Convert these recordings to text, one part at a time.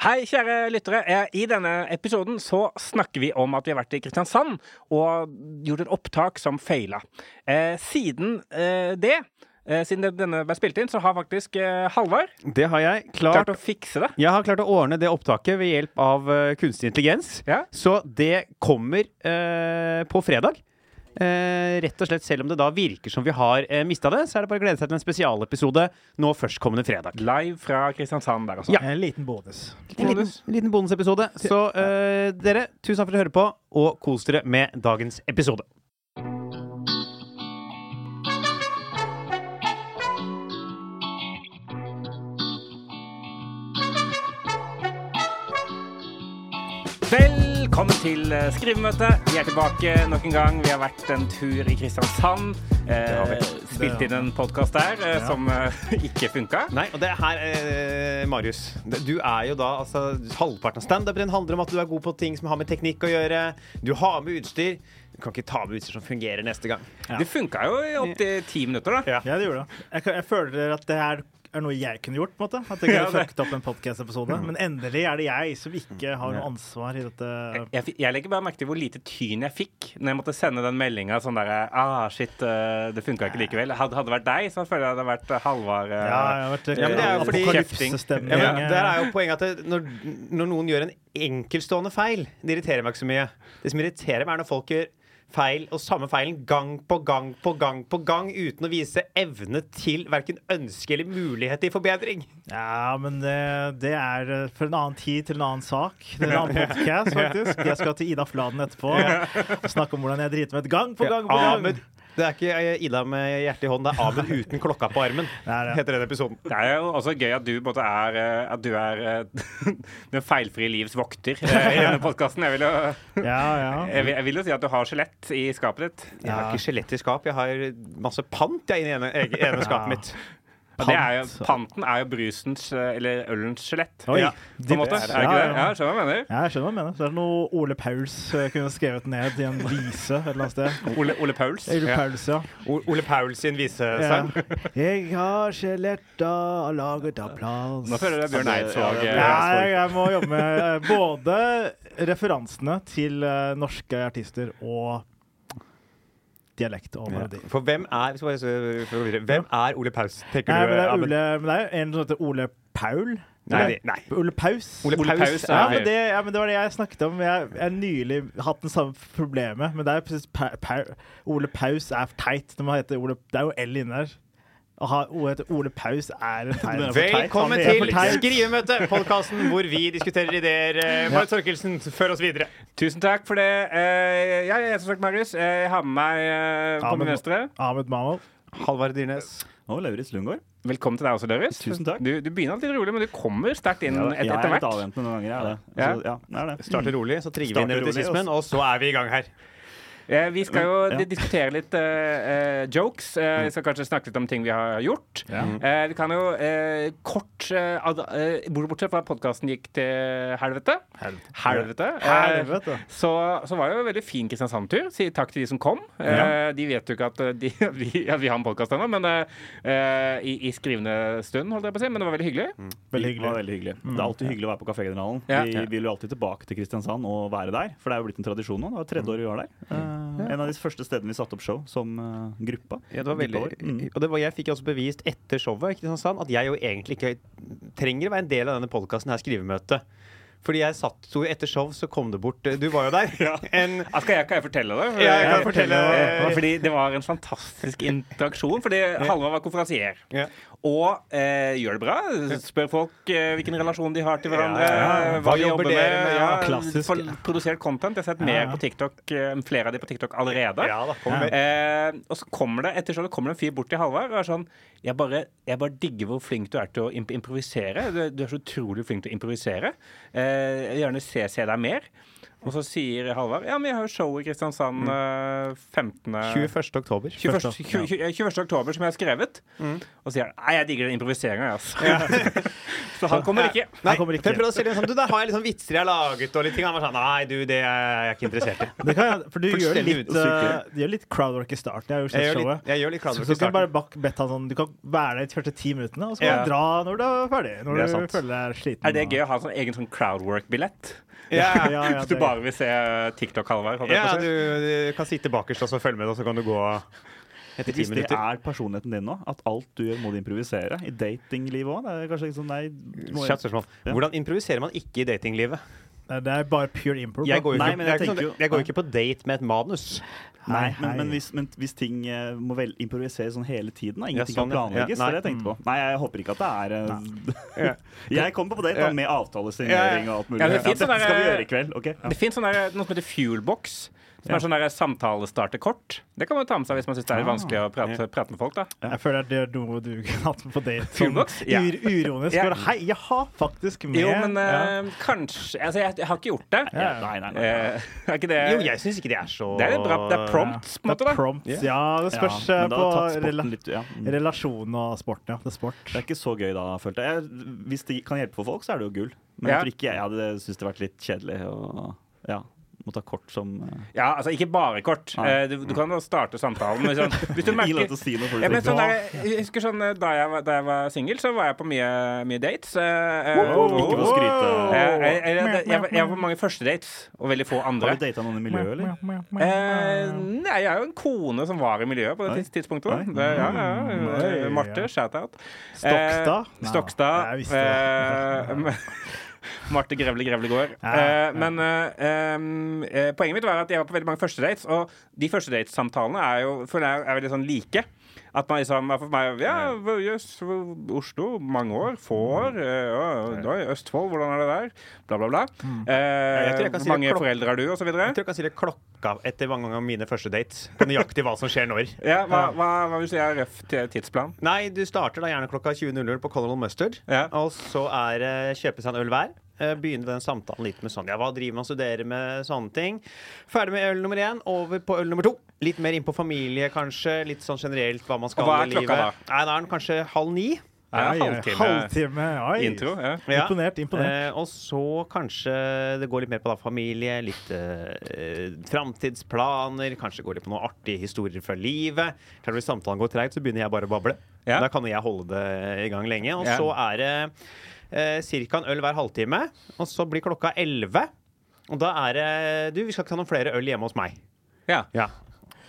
Hei, kjære lyttere. Eh, I denne episoden så snakker vi om at vi har vært i Kristiansand og gjort et opptak som feila. Eh, siden eh, det, eh, siden det- denne ble spilt inn, så har faktisk eh, Halvard Det har jeg klart. klart å fikse det. Jeg har klart å ordne det opptaket ved hjelp av eh, kunstig intelligens. Ja. Så det kommer eh, på fredag. Eh, rett og slett, Selv om det da virker som vi har uh, mista det, så er det bare å glede seg til en spesialepisode nå førstkommende fredag. Live fra Kristiansand der, altså. Ja. En liten bonus. En liten, Bonus. liten bonusepisode. Så eh, dere, tusen takk for at dere hører på, og kos dere med dagens episode. Velkommen til eh, skrivemøte. Vi er tilbake nok en gang. Vi har vært en tur i Kristiansand. har vi. Eh, Det har spilt vi. inn en podkast der eh, Ja. som eh, ikke funka. Nei, og det her, eh, Marius. det- Du er jo da altså, Halvparten av standupen din handler om at du er god på ting som har med teknikk å gjøre. Du har med utstyr. Du kan ikke ta med utstyr som fungerer neste gang. Det funka jo i opptil ti minutter, da. Ja. Ja, det gjorde det. Jeg, kan- jeg føler at det her er noe jeg kunne gjort. på en måte At jeg Ja, kunne det- Mm. fucket opp en podkast-episode. Men endelig er det jeg som ikke har noe ansvar i dette. Jeg, fi- jeg legger bare merke til hvor lite tyn jeg fikk når jeg måtte sende den meldinga sånn derre ah, shit, eh, det funka ikke likevel. Hadde hadde det vært deg, så føler jeg det hadde vært eh, Halvard. eh, Ja, jeg har vært Ja, men det er jo fordi- apokalypsestemning. Ja, men, eh, der Ja, er jo poenget at det, når, når noen gjør en enkeltstående feil Det irriterer meg ikke så mye. Det som irriterer meg, er når folk gjør feil og samme feilen gang på gang på gang på gang uten å vise evne til verken ønske eller mulighet til forbedring. men det, det er eh, for en annen tid til en annen sak. Det er en annen podcast faktisk. Jeg skal til Ida Fladen etterpå og snakke om hvordan jeg driter meg ut gang på gang. på gang Ahmed. Det er ikke eh, Ida med hjertet i hånden, det er Ahmed uten klokka på armen. er det. Heter den episoden. Det er jo også gøy at du, på en måte er, eh, at du er eh, den feilfrie livs vokter eh, i denne podkasten. Jeg, vil jo- Ja, ja. jeg, vil- jeg vil jo si at du har skjelett i skapet ditt. Jeg har Ja. ikke skjelett i skap, jeg har masse pant jeg, i det ene, ene ene skapet mitt. Og det er jo, panten er jo brusens, eh, eller ølens skjelett. Oi, Ja, På en måte. Er det ikke det? Ja, skjønner hva jeg mener. Ja, jeg skjønner hva du mener. Så er det noe Ole Pauls eh, kunne skrevet ned i en vise et eller annet sted. Ole, Ole Pauls. Ole Ja. Pauls, ja. O- Ole Paul sin ja. visesang. Jeg har skjeletter laget av plast. Nå føler jeg Bjørn Ja, det- Eidsvåg. ja, det- eh, Nei, jeg må jobbe med eh, både referansene til eh, norske artister og dialekt og melodi. For hvem er hvis jeg bare skal- for å gå videre, Hvem er Ole Paus, tenker Nei, du? Eh, men det er Ahmed? Ole, men det er en som heter Ole Paul. Nei, Eller? det- nei. Ole Paus. Ole Ole Paus, Paus Ja er- men, det, ja, men det var det jeg snakket om. Jeg jeg har nylig hatt den samme problemet. Men det er precis, pa, pa, Ole Paus er teit. Det, må hete Ole, det er jo L inni der. Å ha ordet heter Ole Paus er en teit. Velkommen Han er for til teit. Skrivemøte, podkasten hvor vi diskuterer ideer. Eh, Marit Thorkildsen, før oss videre. Tusen takk for det. Eh, Jeg er som sagt Marius. Eh, Jeg har med meg eh, på Ja, men min nå- venstre. Ahmed Mamal. Halvard Dyrnes. Og Lauritz Lundgaard. Velkommen til deg også, Døris. Tusen takk. Du, du begynner alltid rolig, men du kommer sterkt inn et, jeg etter er litt hvert. avventende noen ganger. Jeg er det. Ja. Altså, ja, jeg er det. Starter rolig, så trigger vi Starter rolig, nevrotisismen, og så er vi i gang her. Eh, Vi skal jo Ja. Mm. di- diskutere litt eh, eh, jokes. Eh, Vi skal kanskje snakke litt om ting vi har gjort. Eh, Vi kan jo eh, kort eh, ad- eh, bort- Bortsett fra at podkasten gikk til helvete. Helvete. Helvete. Eh, Helvete. Så, så var det jo en veldig fin Kristiansand-tur. Si takk til de som kom. Eh, de vet jo ikke at, eh, de, at, vi, at vi har en podkast ennå, men eh, eh, i, i skrivende stund, holdt jeg på å si. Men det var veldig hyggelig. Veldig Det, var hyggelig. Mm. veldig hyggelig. det er alltid hyggelig å være på Kafégeneralen. Ja. Vi vil jo alltid tilbake til Kristiansand og være der, for det er jo blitt en tradisjon nå. Det var tredje året vi var der. Mm. Eh, en av de første stedene vi satte opp show som eh, gruppa. Ja, det var Gruppa veldig, vår. Mm. og det var, jeg fikk også bevist etter showet i Kristiansand at jeg jo egentlig ikke trenger å være en del av denne podkasten her, skrivemøtet. Fordi jeg satt sto jo etter show, så kom det bort eh, Du var jo der. En, Ah, skal jeg, kan jeg fortelle det? Ja, jeg kan Eh, fortelle. eh, Fordi det var en fantastisk interaksjon. Fordi Halvard var konferansier. Ja. Og eh, gjør det bra. Spør folk eh, hvilken relasjon de har til hverandre. Ja, ja. Hva de jobber med. dere med? Ja, Ja, klassisk. for- Produsert content. Jeg har sett mer på TikTok, eh, flere av de på TikTok allerede. ja da, kom med. Eh, og så kommer det etter showet kommer det en fyr bort til Halvard og er sånn jeg bare, jeg bare digger hvor flink du er til å imp improvisere. Du, du er så utrolig flink til å improvisere. Eh, jeg vil gjerne se, se deg mer. Og så sier Halvard ja, men jeg har jo show i Kristiansand Mm. eh, 15. 21. oktober. 21. tju- tju- 21. oktober, som jeg har skrevet. Mm. Og sier han nei, jeg digger den improviseringa, altså. så han kommer ikke. Nei, for kommer ikke. jeg prøvde å si det sånn, du, der har jeg liksom vitser jeg har laget og litt ting. Han var sånn, nei, du, det er jeg ikke interessert i. Det kan jeg, for du gjør Fullstendig litt, ute og eh, syke. du gjør litt crowdwork i starten. Jeg har jo Jeg sett gjør showet. litt, jeg gjør litt Så crowdwork i så kan du bare starten. bak- bedt han sånn Du kan være der de første ti minuttene, og så kan Ja. du dra når du er ferdig. Når Det er du sant. føler deg sliten. Er det og- gøy å ha sånn egen sånn crowdwork-billett? Ja, Ja, ja, Hvis det du er bare vil se TikTok-Halvard? holdt jeg ja på å si. du, du kan sitte bakerst og så følge med, og så kan du gå etter ti Hvis det minutter. er personligheten din nå, at alt du gjør, må du improvisere. I datinglivet òg. Det er kanskje ikke sånn nei du må- Kjapt spørsmål. Ja. Hvordan improviserer man ikke i datinglivet? Nei, Det er bare pure improv. Jeg går jo Nei, ikke, jeg men jeg er ikke, tenker sånn, jo- jeg går jo ikke på date med et manus. Nei, Hei, men, men, hei. hvis, men hvis ting eh, må vel improviseres sånn hele tiden, da. Ingenting Ja, sånn, kan ja. planlegges. Ja, nei. det er det jeg Mm. tenkte på. Nei, jeg håper ikke at det er eh, Jeg kommer på date Ja. da, med avtalesignering og alt mulig. Ja, det finnes Ja, dette sånn skal vi der- gjøre i kveld. ok? Ja. Det fins noe som heter Fuelbox, som er sånn der samtalestarterkort. Det kan man ta med seg hvis man syns det er litt vanskelig å Ah, prate, prate med folk. da Jeg føler at det er noe du kunne hatt med på date. Sånn Fullbox? Ja. ur uronisk. Ja. Bare, hei, jeg har faktisk med Jo, men ja. eh, kanskje Altså, jeg, jeg har ikke gjort det. Ja, nei, nei, nei. Eh, er ikke det Jo, jeg syns ikke det er så Det er litt bra. Det er prompts, på en måte. Det er da prompts. Ja, det spørs Ja, eh, men da på har tatt sporten rela litt, ja. Mm. relasjon og sporten. Ja, det er sport. Det er ikke så gøy da, følte jeg. jeg. Hvis det kan hjelpe for folk, så er det jo gull. Men Ja. jeg tror ikke jeg hadde syntes det vært litt kjedelig å ja, måtte ha kort som eh, Ja, altså ikke bare kort. Nei. Eh, du, du kan jo starte samtalen med sånn Hvis du Ingen lov merker til å si noe. for ja, det men sånn tenker. der, jeg husker sånn eh, Da jeg var, da jeg var singel, så var jeg på mye, mye dates. eh, eh, Wow, og- ikke på og- skryte. eh, jeg, jeg, jeg, jeg, var- jeg var på mange førstedates, og veldig få andre. Har du data noen i miljøet, eller? Eh, nei, jeg er jo en kone som var i miljøet på det Oi. tids- tidspunktet. da. Oi. Det, ja, ja, ja. Oi, ja. Marte, shout-out. Stokstad? Eh, Nei, Stokstad. jeg visste det. eh, men- Marte Grevle Grevlegård. Ja, Eh, ja. men eh, em, eh, poenget mitt var at jeg var på veldig mange førstedates, og de førstedatesamtalene er jo føler jeg er veldig sånn like. At man liksom for meg, Ja, hva- jøss, hvor- Oslo, mange år, få år. eh, ja, da i Østfold, hvordan er det der? Bla, bla, bla. jeg tror Eh, jeg kan si mange det klok- foreldre har du, og så videre. Jeg tror jeg kan si det klokka etter mange av mine første dates. På nøyaktig hva som skjer når. Ja, hva, hva, hva vil du si er røff t- tidsplan? Nei, du starter da gjerne klokka 20.00 på Colonel Mustard. Ja. Og så er det kjøpe seg en øl hver. Eh, Begynne den samtalen litt med sånn Ja, hva driver man og studerer med sånne ting? Ferdig med øl nummer én, over på øl nummer to. Litt mer inn på familie, kanskje. Litt sånn generelt hva man skal Og hva er i klokka livet. Nei, da er den kanskje halv ni. Ja, Oi, oi, halvtime halvtime. Oi. intro. Ja. Ja. Imponert, imponert. Eh, og så kanskje det går litt mer på da, familie, litt eh, eh, framtidsplaner. Kanskje går litt på noen artige historier fra livet. Klart Hvis samtalen går treigt, så begynner jeg bare å bable. Ja. Da kan jo jeg holde det i gang lenge. Og Ja. så er det eh, ca. en øl hver halvtime. Og så blir klokka 11. Og da er det Du, vi skal ikke ta noen flere øl hjemme hos meg. Ja. Ja.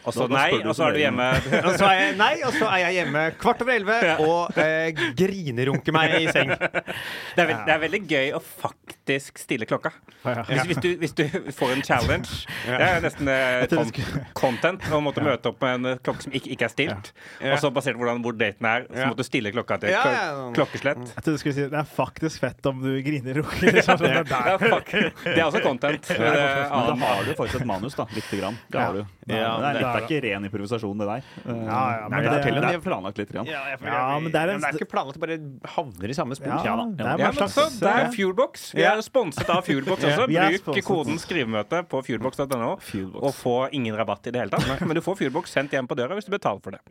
Og så Nå- nå nei, spør du og så er du hjemme. Og så er jeg, nei, og så er jeg hjemme kvart over elleve og eh, grinerunker meg i seng. Det er, veld, det er veldig gøy å faktisk stille klokka. Hvis, hvis, du, hvis du får en challenge Det er nesten eh, trodde con- content å måtte møte opp med en eh, klokke som ikke, ikke er stilt. Ja. Og så basert på hvordan hvor daten er, så Ja. måtte du stille klokka til et Ja, klo- ja, ja. klokkeslett. Jeg trodde du skulle si det er faktisk fett om du griner og rukker. Ja, fuck. Det er også content. Eh, Det Men det, er men da annen- har du faktisk et manus, da. Lite grann. Det har du. Det, Ja, er, det, det er, er ikke ren improvisasjon, det der. Eh, Ja, ja, men nei, det, det- er, det er planlagt litt. Grann. Ja, jeg føler Ja, jeg- men det er en- ikke planlagt å bare havner i samme spor. Ja, da. det er Ja, bare men slags så Det er ja. Fuelbox. Vi Ja. er sponset av Fuelbox Ja, også. vi er Bruk sponset. koden skrivemøte på fuelbox.no Fuelbox. og få ingen rabatt i det hele tatt. Men du får Fuelbox sendt hjem på døra hvis du betaler for det.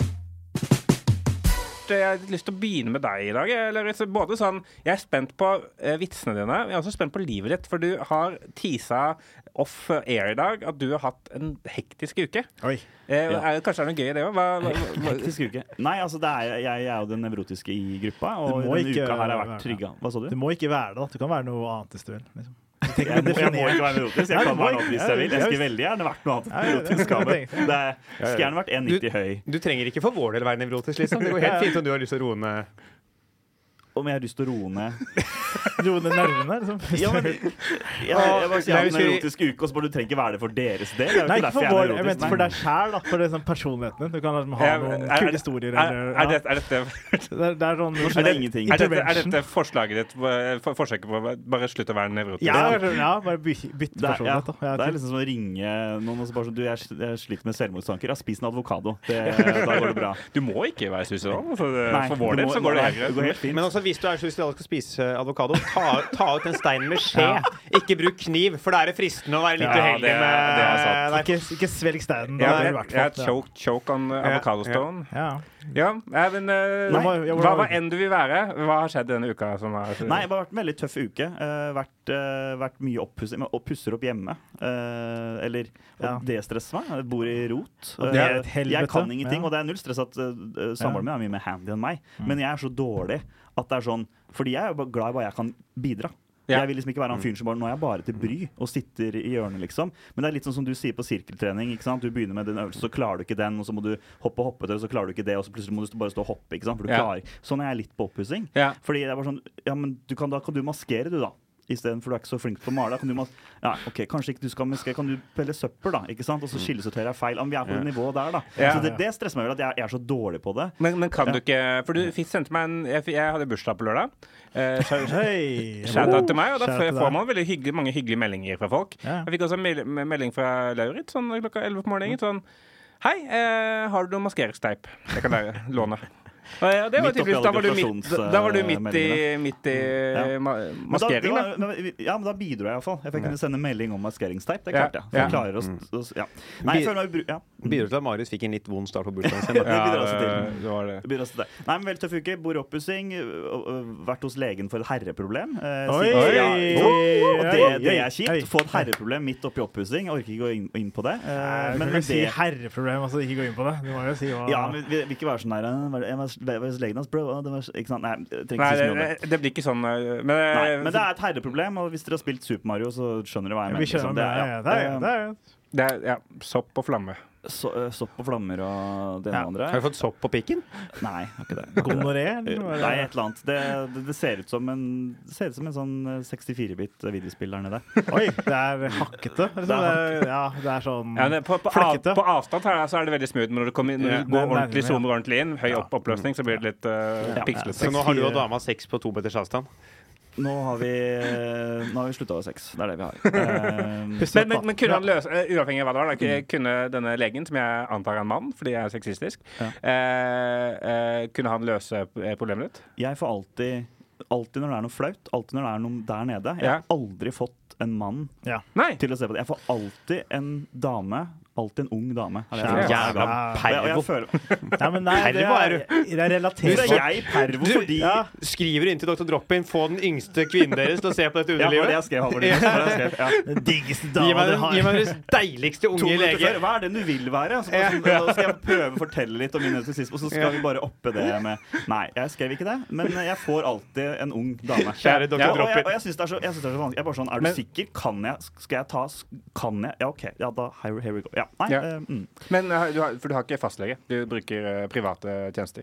Jeg har lyst til å begynne med deg i dag. Eller både sånn, Jeg er spent på eh, vitsene dine. Jeg er også spent på livet ditt, for du har tisa off air i dag at du har hatt en hektisk uke. Oi. Eh, Ja. er, kanskje det er noe gøy i det òg? Hva, hva, hva, Hektisk uke. Nei, altså det er, jeg, jeg er jo den nevrotiske i gruppa, og Det må denne ikke uka her har jeg være- vært trygga. Hva sa du? Du må ikke være det. da. Du kan være noe annet hvis du vil. Liksom. Jeg må, jeg må ikke være nevrotisk. Nei, Jeg du kan må være ikke. noe hvis jeg vil. Jeg skulle veldig gjerne vært noe annet enn nevrotisk. Ja, ja, ja. Ahmed. Det er- Skulle gjerne vært 1,90 høy. Du trenger ikke for vår del være nevrotisk. Liksom. Det går helt fint om du har lyst til å roe ned. Om jeg har lyst til å roe ned Roe ned nervene. Liksom. Ja, men jeg, jeg, bare sier jeg har en nevrotisk uke, og så bare du trenger ikke være det for deres del. Det er jo Nei, ikke ikke derfor for, jeg er vår, jeg mente nevrotisk. for Nei. deg sjæl, da. For det, er sånn personligheten din. Du kan liksom ha er, noen er, kule historier. er, Eller, er, dette- er dette ja. det, er- det er sånn Nå skjønner jeg ingenting. Er dette, er Intervention. dette forslaget ditt eh, for, forsøket på å bare- bare slutte å være nevrotisk? ja, ja, bare by, bytte Det er, ja, personlighet, da. Ja, det er liksom som å ringe noen og så bare sånn Du, jeg, sl- jeg sliter med selvmordstanker. Ja, spis en advokado. Det, da går det bra. Du må ikke være suicidal. For, Nei, for vår du del må- så går det nei, helt greit. helt fint. Men også hvis du er så hvis du skal spise eh, avokado, ta, ta ut en stein med skje. Ikke bruk kniv, for da er det fristende å være litt Ja, uheldig det er- med det er sant. Nei, Ikke, ikke svelg steinen. Ja, da, i jeg, hvert jeg fall. choke, choke on uh, avocado ja. stone. Ja. Ja, nei, men eh, Nei, hva- ja, hva, hvordan- hva enn du vil være, hva har skjedd denne uka som er Nei, det har vært en veldig tøff uke. Eh, vært, eh, vært mye oppussing. men- Og pusser opp hjemme. Eh, eller Ja. og destresser meg. Jeg Bor i rot. Og det er et Eh, jeg helvete. kan ingenting, Ja. Mm. og det er null stress at eh, samboeren min er mye mer handy enn meg. Men jeg er så dårlig at det er sånn Fordi jeg er jo bare glad i hva jeg kan bidra. Ja. Jeg vil liksom ikke Mm. være han fyren som bare Nå er jeg bare til bry og sitter i hjørnet, liksom. Men det er litt sånn som du sier på sirkeltrening. ikke sant? Du begynner med den øvelsen, så klarer du ikke den, og så må du hoppe og hoppe til, og så klarer du ikke det, og så plutselig må du bare stå og hoppe. ikke sant? For du Ja. klarer. Sånn er jeg litt på oppussing. Ja. Fordi det er bare sånn Ja, men du kan, da kan du maskere, du, da. Istedenfor du er ikke så flink til å male. da Kan du mas ja, ok, kanskje ikke du skal maskere, kan du pelle søppel, da? ikke sant? Og så skillesortere er feil. Ja, men vi er på det nivået der, da. Mm. Ja. så det, det stresser meg vel at jeg, jeg er så dårlig på det. Men, men kan du ikke For du fikk, sendte meg en Jeg, fikk- jeg hadde bursdag på lørdag. Eh, så- Hei! Shout-out til meg, og da Shout får til får deg. man veldig hyggelig, mange hyggelige meldinger fra folk. Ja. Jeg fikk også en mel- melding fra Lauritz sånn klokka 11 på morgenen. Sånn Hei, eh, har du noe maskeringsteip jeg kan lære, låne? Og ja, det var Midt oppi tydeligvis, alle da var du midt, gratulasjons- da var du midt i, meldingene. midt i eh, Ja. ma Men da, det maskering, da. var- men- ja, men da bidro jeg iallfall. Jeg fikk kunne sende melding om maskeringsteip. Ja. Det klarte jeg. For jeg Ja. Mm. klarer å, s- å s- ja. Nei, jeg føler meg ubru... Ja. Bidro til at Marius fikk en litt vond start på bursdagen sin. da. Ja. bidrar også til. det- det Eh, var det. Det blir også det. Nei, men Veldig tøff uke. Bor i oppussing. ø- ø- Vært hos legen for et herreproblem. Eh, Oi! siden- Ja, Oi! og det, det Oi! er Oi! kjipt. Få et herreproblem midt oppi oppussing. Jeg Orker ikke gå inn, inn på det. Eh, Men, men, men men si det herreproblem, altså. Ikke gå inn på det. Du må jo si hva ja, men vi vil ikke være sånn der eh, var det- jeg var- jeg var hos legen hans, bro. og det var så- Ikke sant? Nei, jeg trenger Nei, ikke si så mye om det. det, det blir ikke sånn eh, Men, Nei, men det er et herreproblem, og hvis dere har spilt Super Mario, så skjønner dere hva jeg mener. Vi skjønner liksom. det. er- Ja, det er, Eh, det er, det er ja, sopp og flamme. så- ø, Sopp og flammer og det ene Ja. og det Har andre. du fått sopp på pikken? Nei, jeg har ikke det. Gonoré? Eh, eller hva er det? Nei, et eller annet. Det, det, det ser ut som en, det ser ut som en sånn eh, 64-bit videospill der nede. Oi, det er hakkete. Liksom. Det er, ja, det er sånn Ja, det, på, på, av, Flekkete. på avstand her så er det veldig smooth, men når du, kommer, inn- når Ja, du det er går ordentlig, nærmere, ja. zoomer ordentlig inn, høy opp oppløsning, så blir det litt eh, Ja. pikslete. Så nå har du og Fire. dama sex på to meters avstand. Nå har vi, eh, nå har vi slutta å ha sex. Det er det vi har. Eh, Puss Men, opp, da. men, men kunne han Ja. løse, eh, uavhengig av hva det var, da, k- kunne denne legen, som jeg antar er en mann fordi jeg er sexistisk, Ja. eh, eh, kunne han løse eh, problemet ditt? jeg får alltid Alltid når det er noe flaut, alltid når det er noe der nede. Jeg har aldri fått en mann Ja. Nei! til å se på det. Jeg får alltid en dame. Alltid en ung dame. er det Ja. jeg får. Jævla Ja. Og jeg, og jeg pervo. føler, Nei, men nei, det Pervo er er, det er så relatert. er jeg pervo Du- fordi Ja. Skriver inn til Dr. Drop-In, få den yngste kvinnen deres til å se på dette Ja, det var det jeg underlivet. skrev. Halvor. Det var det jeg skrev. Ja. Den diggeste Gi dama meg du den- gi meg har. deres deiligste to unge minutter lege. før. Hva er det du vil være? Så bare, sånn, da skal jeg prøve å fortelle litt om min narsissisme, og så skal vi bare oppe det med Nei, jeg skrev ikke det, men jeg får alltid en ung dame. Kjære Dr. Ja, og jeg, Drop-In. og jeg syns det er så jeg synes det er så vanskelig. Jeg er bare sånn, er du Men- sikker? Kan jeg? Skal jeg ta Kan jeg? Ja, OK. Ja, da here, here we go. Ja. Nei, Ja. eh, mm. Men, eh, du har, for du har ikke fastlege. Du bruker eh, private tjenester.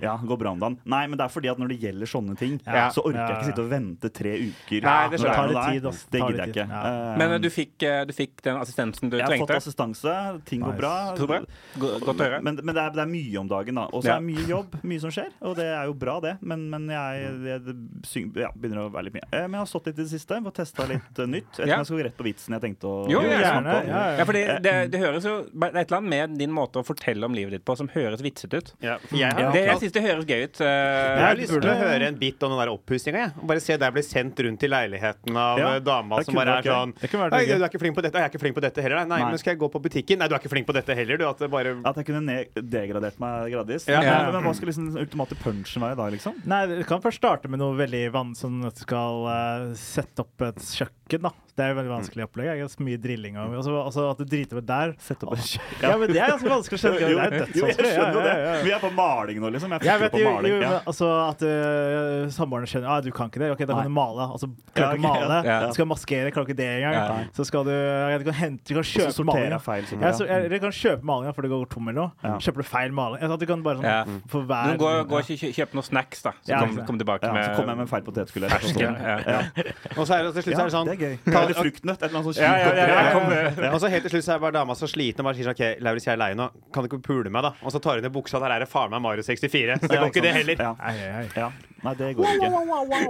ja, går bra om dagen. Nei, men det er fordi at når det gjelder sånne ting, Ja. så orker Ja, ja. jeg ikke sitte og vente tre Nei, uker. det når er skjønner jeg. noe Tar litt der. tid, ass. Det Tar gidder jeg litt ikke. tid. Ja. Eh, Men eh, du, fikk, eh, du fikk den assistensen du jeg har fått trengte. assistanse, ting går Nice. bra. Så bra. Go- Godt å høre. Men, men det, er, det er mye om dagen, da. Og så Ja. er det mye jobb, mye som skjer. Og det er jo bra, det. Men, men jeg, jeg det syng, ja, begynner å være litt mye. Eh, Men jeg har stått litt i det siste og testa litt eh, nytt. Jeg vet ikke Ja. om jeg skal gå rett på vitsen jeg tenkte å Jo, Jo, gjerne, snakke gjerne. om. Ja, Ja, ja. fordi det, det høres jo Det er et eller annet med din måte å fortelle om livet ditt på som høres vitsete ut. Ja, for jeg har Det, jeg syns det høres gøy ut. eh, Jeg har Ja, lyst burde. til å høre en bit om den der oppussinga. jeg. Og Bare se deg bli sendt rundt i leiligheten av Ja, eh, dama det som kunne bare vært er gøy. sånn Det kunne vært Nei, gøy. du er ikke flink på dette. Jeg er ikke flink på dette heller. Nei, Nei. men skal jeg gå på butikken? Nei, du er ikke flink på dette heller, du. At det bare At jeg kunne ne- degradert meg gradvis. Ja. Men, men hva skal liksom den ultimate punchen være da, liksom? Nei, Du kan først starte med noe veldig vann sånn at du skal eh, sette opp et kjøkken. da. Det er jo veldig vanskelig opplegg. Det er så mye drilling og og så- og så at du driter med der. Sette opp en kjø- Ja, men det er ganske vanskelig å Jo, skjønne. jo, Det er jo, jeg dødsvanskelig. skjønner jo Ja, det. ja, ja. Vi er på maling nå, liksom. Jeg Jeg fikler vet på jo, maling. jo ja. men altså at uh, samboerne skjønner at ah, du kan ikke det. Ok, da Nei. kan du male. Altså, klarer du ikke Ja, ok, å male. ja. Du skal maskere, klarer du ikke det engang. Ja. Så skal du, du kan hente, du kan Så kjøpe sorterer malinga. jeg feil. sikkert, Ja, så, eller du kan kjøpe malinga før du går tom eller noe. Ja. Kjøper du feil maling. Altså, at du kan bare sånn Ja. for Men hver Gå gå og kjø- kjøp noen snacks, da. Så Ja, kom, ikke sant. kom tilbake ja, med så kommer jeg med feil potetgull. eller noe sånt. fersken. Ja. Ja. Og så er det til slutt så Ja, er det sånn det er gøy. Eller fruktnøtt. Et eller annet sånt Ja, ja, kjipt ja, opplegg. ja, kom Og så helt til slutt så er bare dama så sliten og bare sier sånn OK, Lauritz, jeg er lei nå. Kan du ikke pule meg, da? Og så tar hun ned buksa, der er det faen meg Mario 64. Så det går ikke, det heller. Ja. Hei, hei, hei. ja. Nei, det går ikke.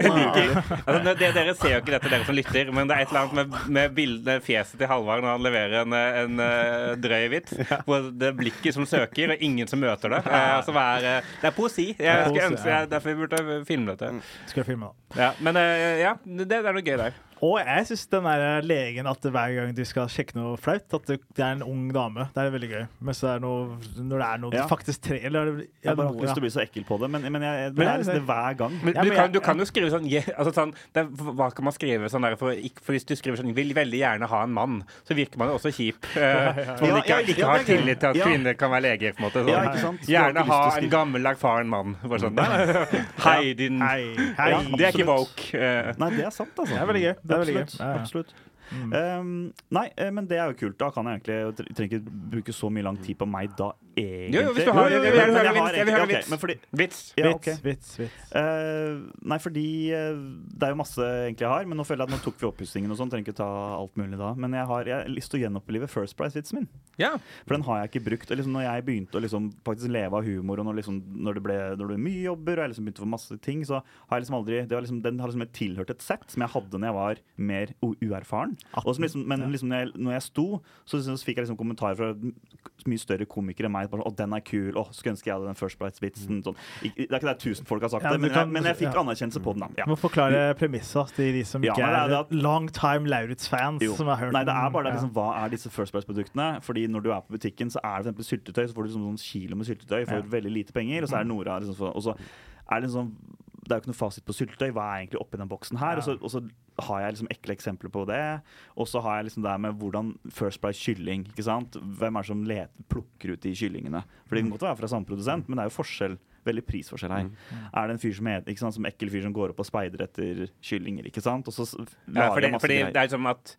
Altså, det- det, dere ser jo ikke dette, dere som lytter, men det er et eller annet med, med bildet, fjeset til Halvard når han leverer en, eh, en eh, drøy vits. Hvor det er blikket som søker, og ingen som møter det. Eh, altså, hva er, eh, det er poesi. Jeg poesi, skulle ønske ja. jeg, Derfor vi burde filme dette. Skal jeg filme, da? Ja, men eh, ja, det, det er noe gøy der. Og jeg syns den der eh, legen at hver gang du skal sjekke noe flaut, at det, det er en ung dame. Det er veldig gøy. Men så er det noe, når det er noe Ja. faktisk tre eller, er det- Jeg har bare ja. ikke lyst til å bli så ekkel på det, men, men jeg, det er liksom det hver gang. Men, Ja, du, men kan, jeg- du kan jo skrive sånn, je- altså sånn det, er- Hva kan man skrive sånn der for, ikke, for hvis du skriver sånn 'Vil veldig gjerne ha en mann', så virker man jo også kjip. eh, Som om Ja, man ikke, ja, ikke ja, har det er gøy. tillit til at Ja. kvinner kan være leger. på en måte sånn. Ja, ikke sant? Du Gjerne har ikke lyst ha til en å skrive- gammel, erfaren mann. Bare sånn. Hei, din Hei, hei. Ja. Det er ikke absolutt. woke. eh. Nei, det er sant, altså. Det er veldig gøy. Det er veldig gøy. Absolutt. Ja, ja. Absolutt. Um, nei, eh, men det er jo kult. Da kan jeg egentlig jeg tre- trenger ikke bruke så mye lang tid på meg da, egentlig. Jo, jo, hvis du har- jeg vil gjerne høre Men jeg vits, har jeg vil høre egentlig- vits. ok, men fordi, Vits. ja, ok. Vits, vits, vits. Eh, nei, fordi eh, det er jo masse egentlig jeg har, men nå føler jeg at nå tok vi oppussingen og sånn. Trenger ikke ta alt mulig da. Men jeg har, jeg har lyst til å gjenopplive First Price-vitsen min. Ja. For den har jeg ikke brukt. Og Liksom, når jeg begynte å liksom, faktisk leve av humor, og når, liksom, når, det ble, når det ble mye jobber, og jeg liksom begynte å få masse ting, så har jeg liksom aldri det var liksom, Den har liksom et tilhørt et sett som jeg hadde når jeg var mer u- uerfaren. Og som liksom, men liksom, når, jeg, når jeg sto, så, liksom, så fikk jeg liksom kommentarer fra m- mye større komikere enn meg. Bare, sånn, 'Å, den er kul. Å, skulle ønske jeg hadde den First Price-vitsen.' Sånn. Ik- Det er ikke det tusen folk har sagt Ja, det, du men, kan- jeg, men jeg fikk ja. anerkjennelse på den. da. Jeg Ja. må forklare premissa til de som Ja, ikke men det er er, det at- long time Lauritz-fans Jo. som har hørt Nei, det er bare det, den. liksom, hva er disse First Price-produktene? Fordi når du er på butikken, så er det for eksempel syltetøy, så får du liksom sånn kilo med syltetøy for Ja. veldig lite penger, Mm. og så er det Nora liksom, for, og så er det liksom det er jo ikke noe fasit på syltetøy. Hva er egentlig oppi den boksen her? Og, så, og så har jeg liksom ekle eksempler på det. Og så har jeg liksom det her med hvordan First Price kylling. ikke sant? Hvem er det som let, plukker ut de kyllingene? Mm. For det kan godt være fra samme produsent, men det er jo forskjell. Veldig prisforskjell her. Mm. Er det en fyr som, het- ikke sant, som ekkel fyr som går opp og speider etter kyllinger? ikke sant? Og så s- Ja, lager fordi, masse fordi greier. det er som at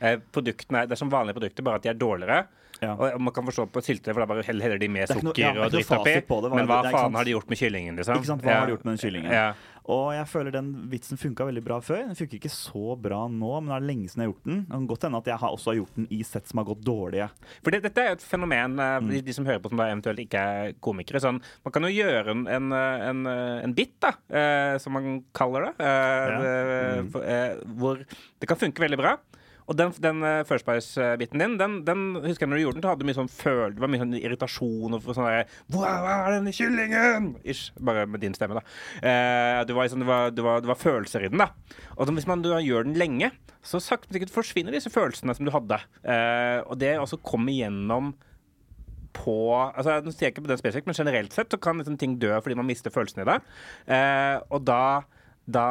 eh, produktene, er- det er som vanlige produkter, bare at de er dårligere. Ja. Og man kan forstå på syltetøy, for da bare heller heller de med Det er ikke noe- sukker ja, det er og ikke dritt noe oppi. fasit på det, hva er Men det- hva det er ikke sant. faen har de gjort med kyllingen, liksom? Ikke sant? Hva Ja. har de gjort med den kyllingen? Ja. Og jeg føler den vitsen funka veldig bra før. Den funker ikke så bra nå, men det er lenge siden jeg har gjort den. Det kan godt hende at jeg har også har gjort den i sett som har gått dårlige. For det, dette er jo et fenomen, eh, de, de som hører på som da eventuelt ikke er komikere. Sånn, man kan jo gjøre en, en, eh, en, eh, en bit, da, eh, som man kaller det, eh, eh, for, eh, hvor det kan funke veldig bra. Og den, den eh, First Price-biten din, den, den husker jeg når du gjorde den, så hadde du mye sånn føl, det var mye sånn irritasjon og sånn derre Hva er denne kyllingen? Ish. Bare med din stemme, da. Eh, det, var liksom, det, var, det, var, det var følelser i den, da. Og så hvis man da gjør den lenge, så sakte, men sikkert forsvinner disse følelsene som du hadde. Eh, og det også kommer gjennom på altså Nå sier jeg ikke på den spesifikt, men generelt sett så kan liksom ting dø fordi man mister følelsen i det. Eh, og da da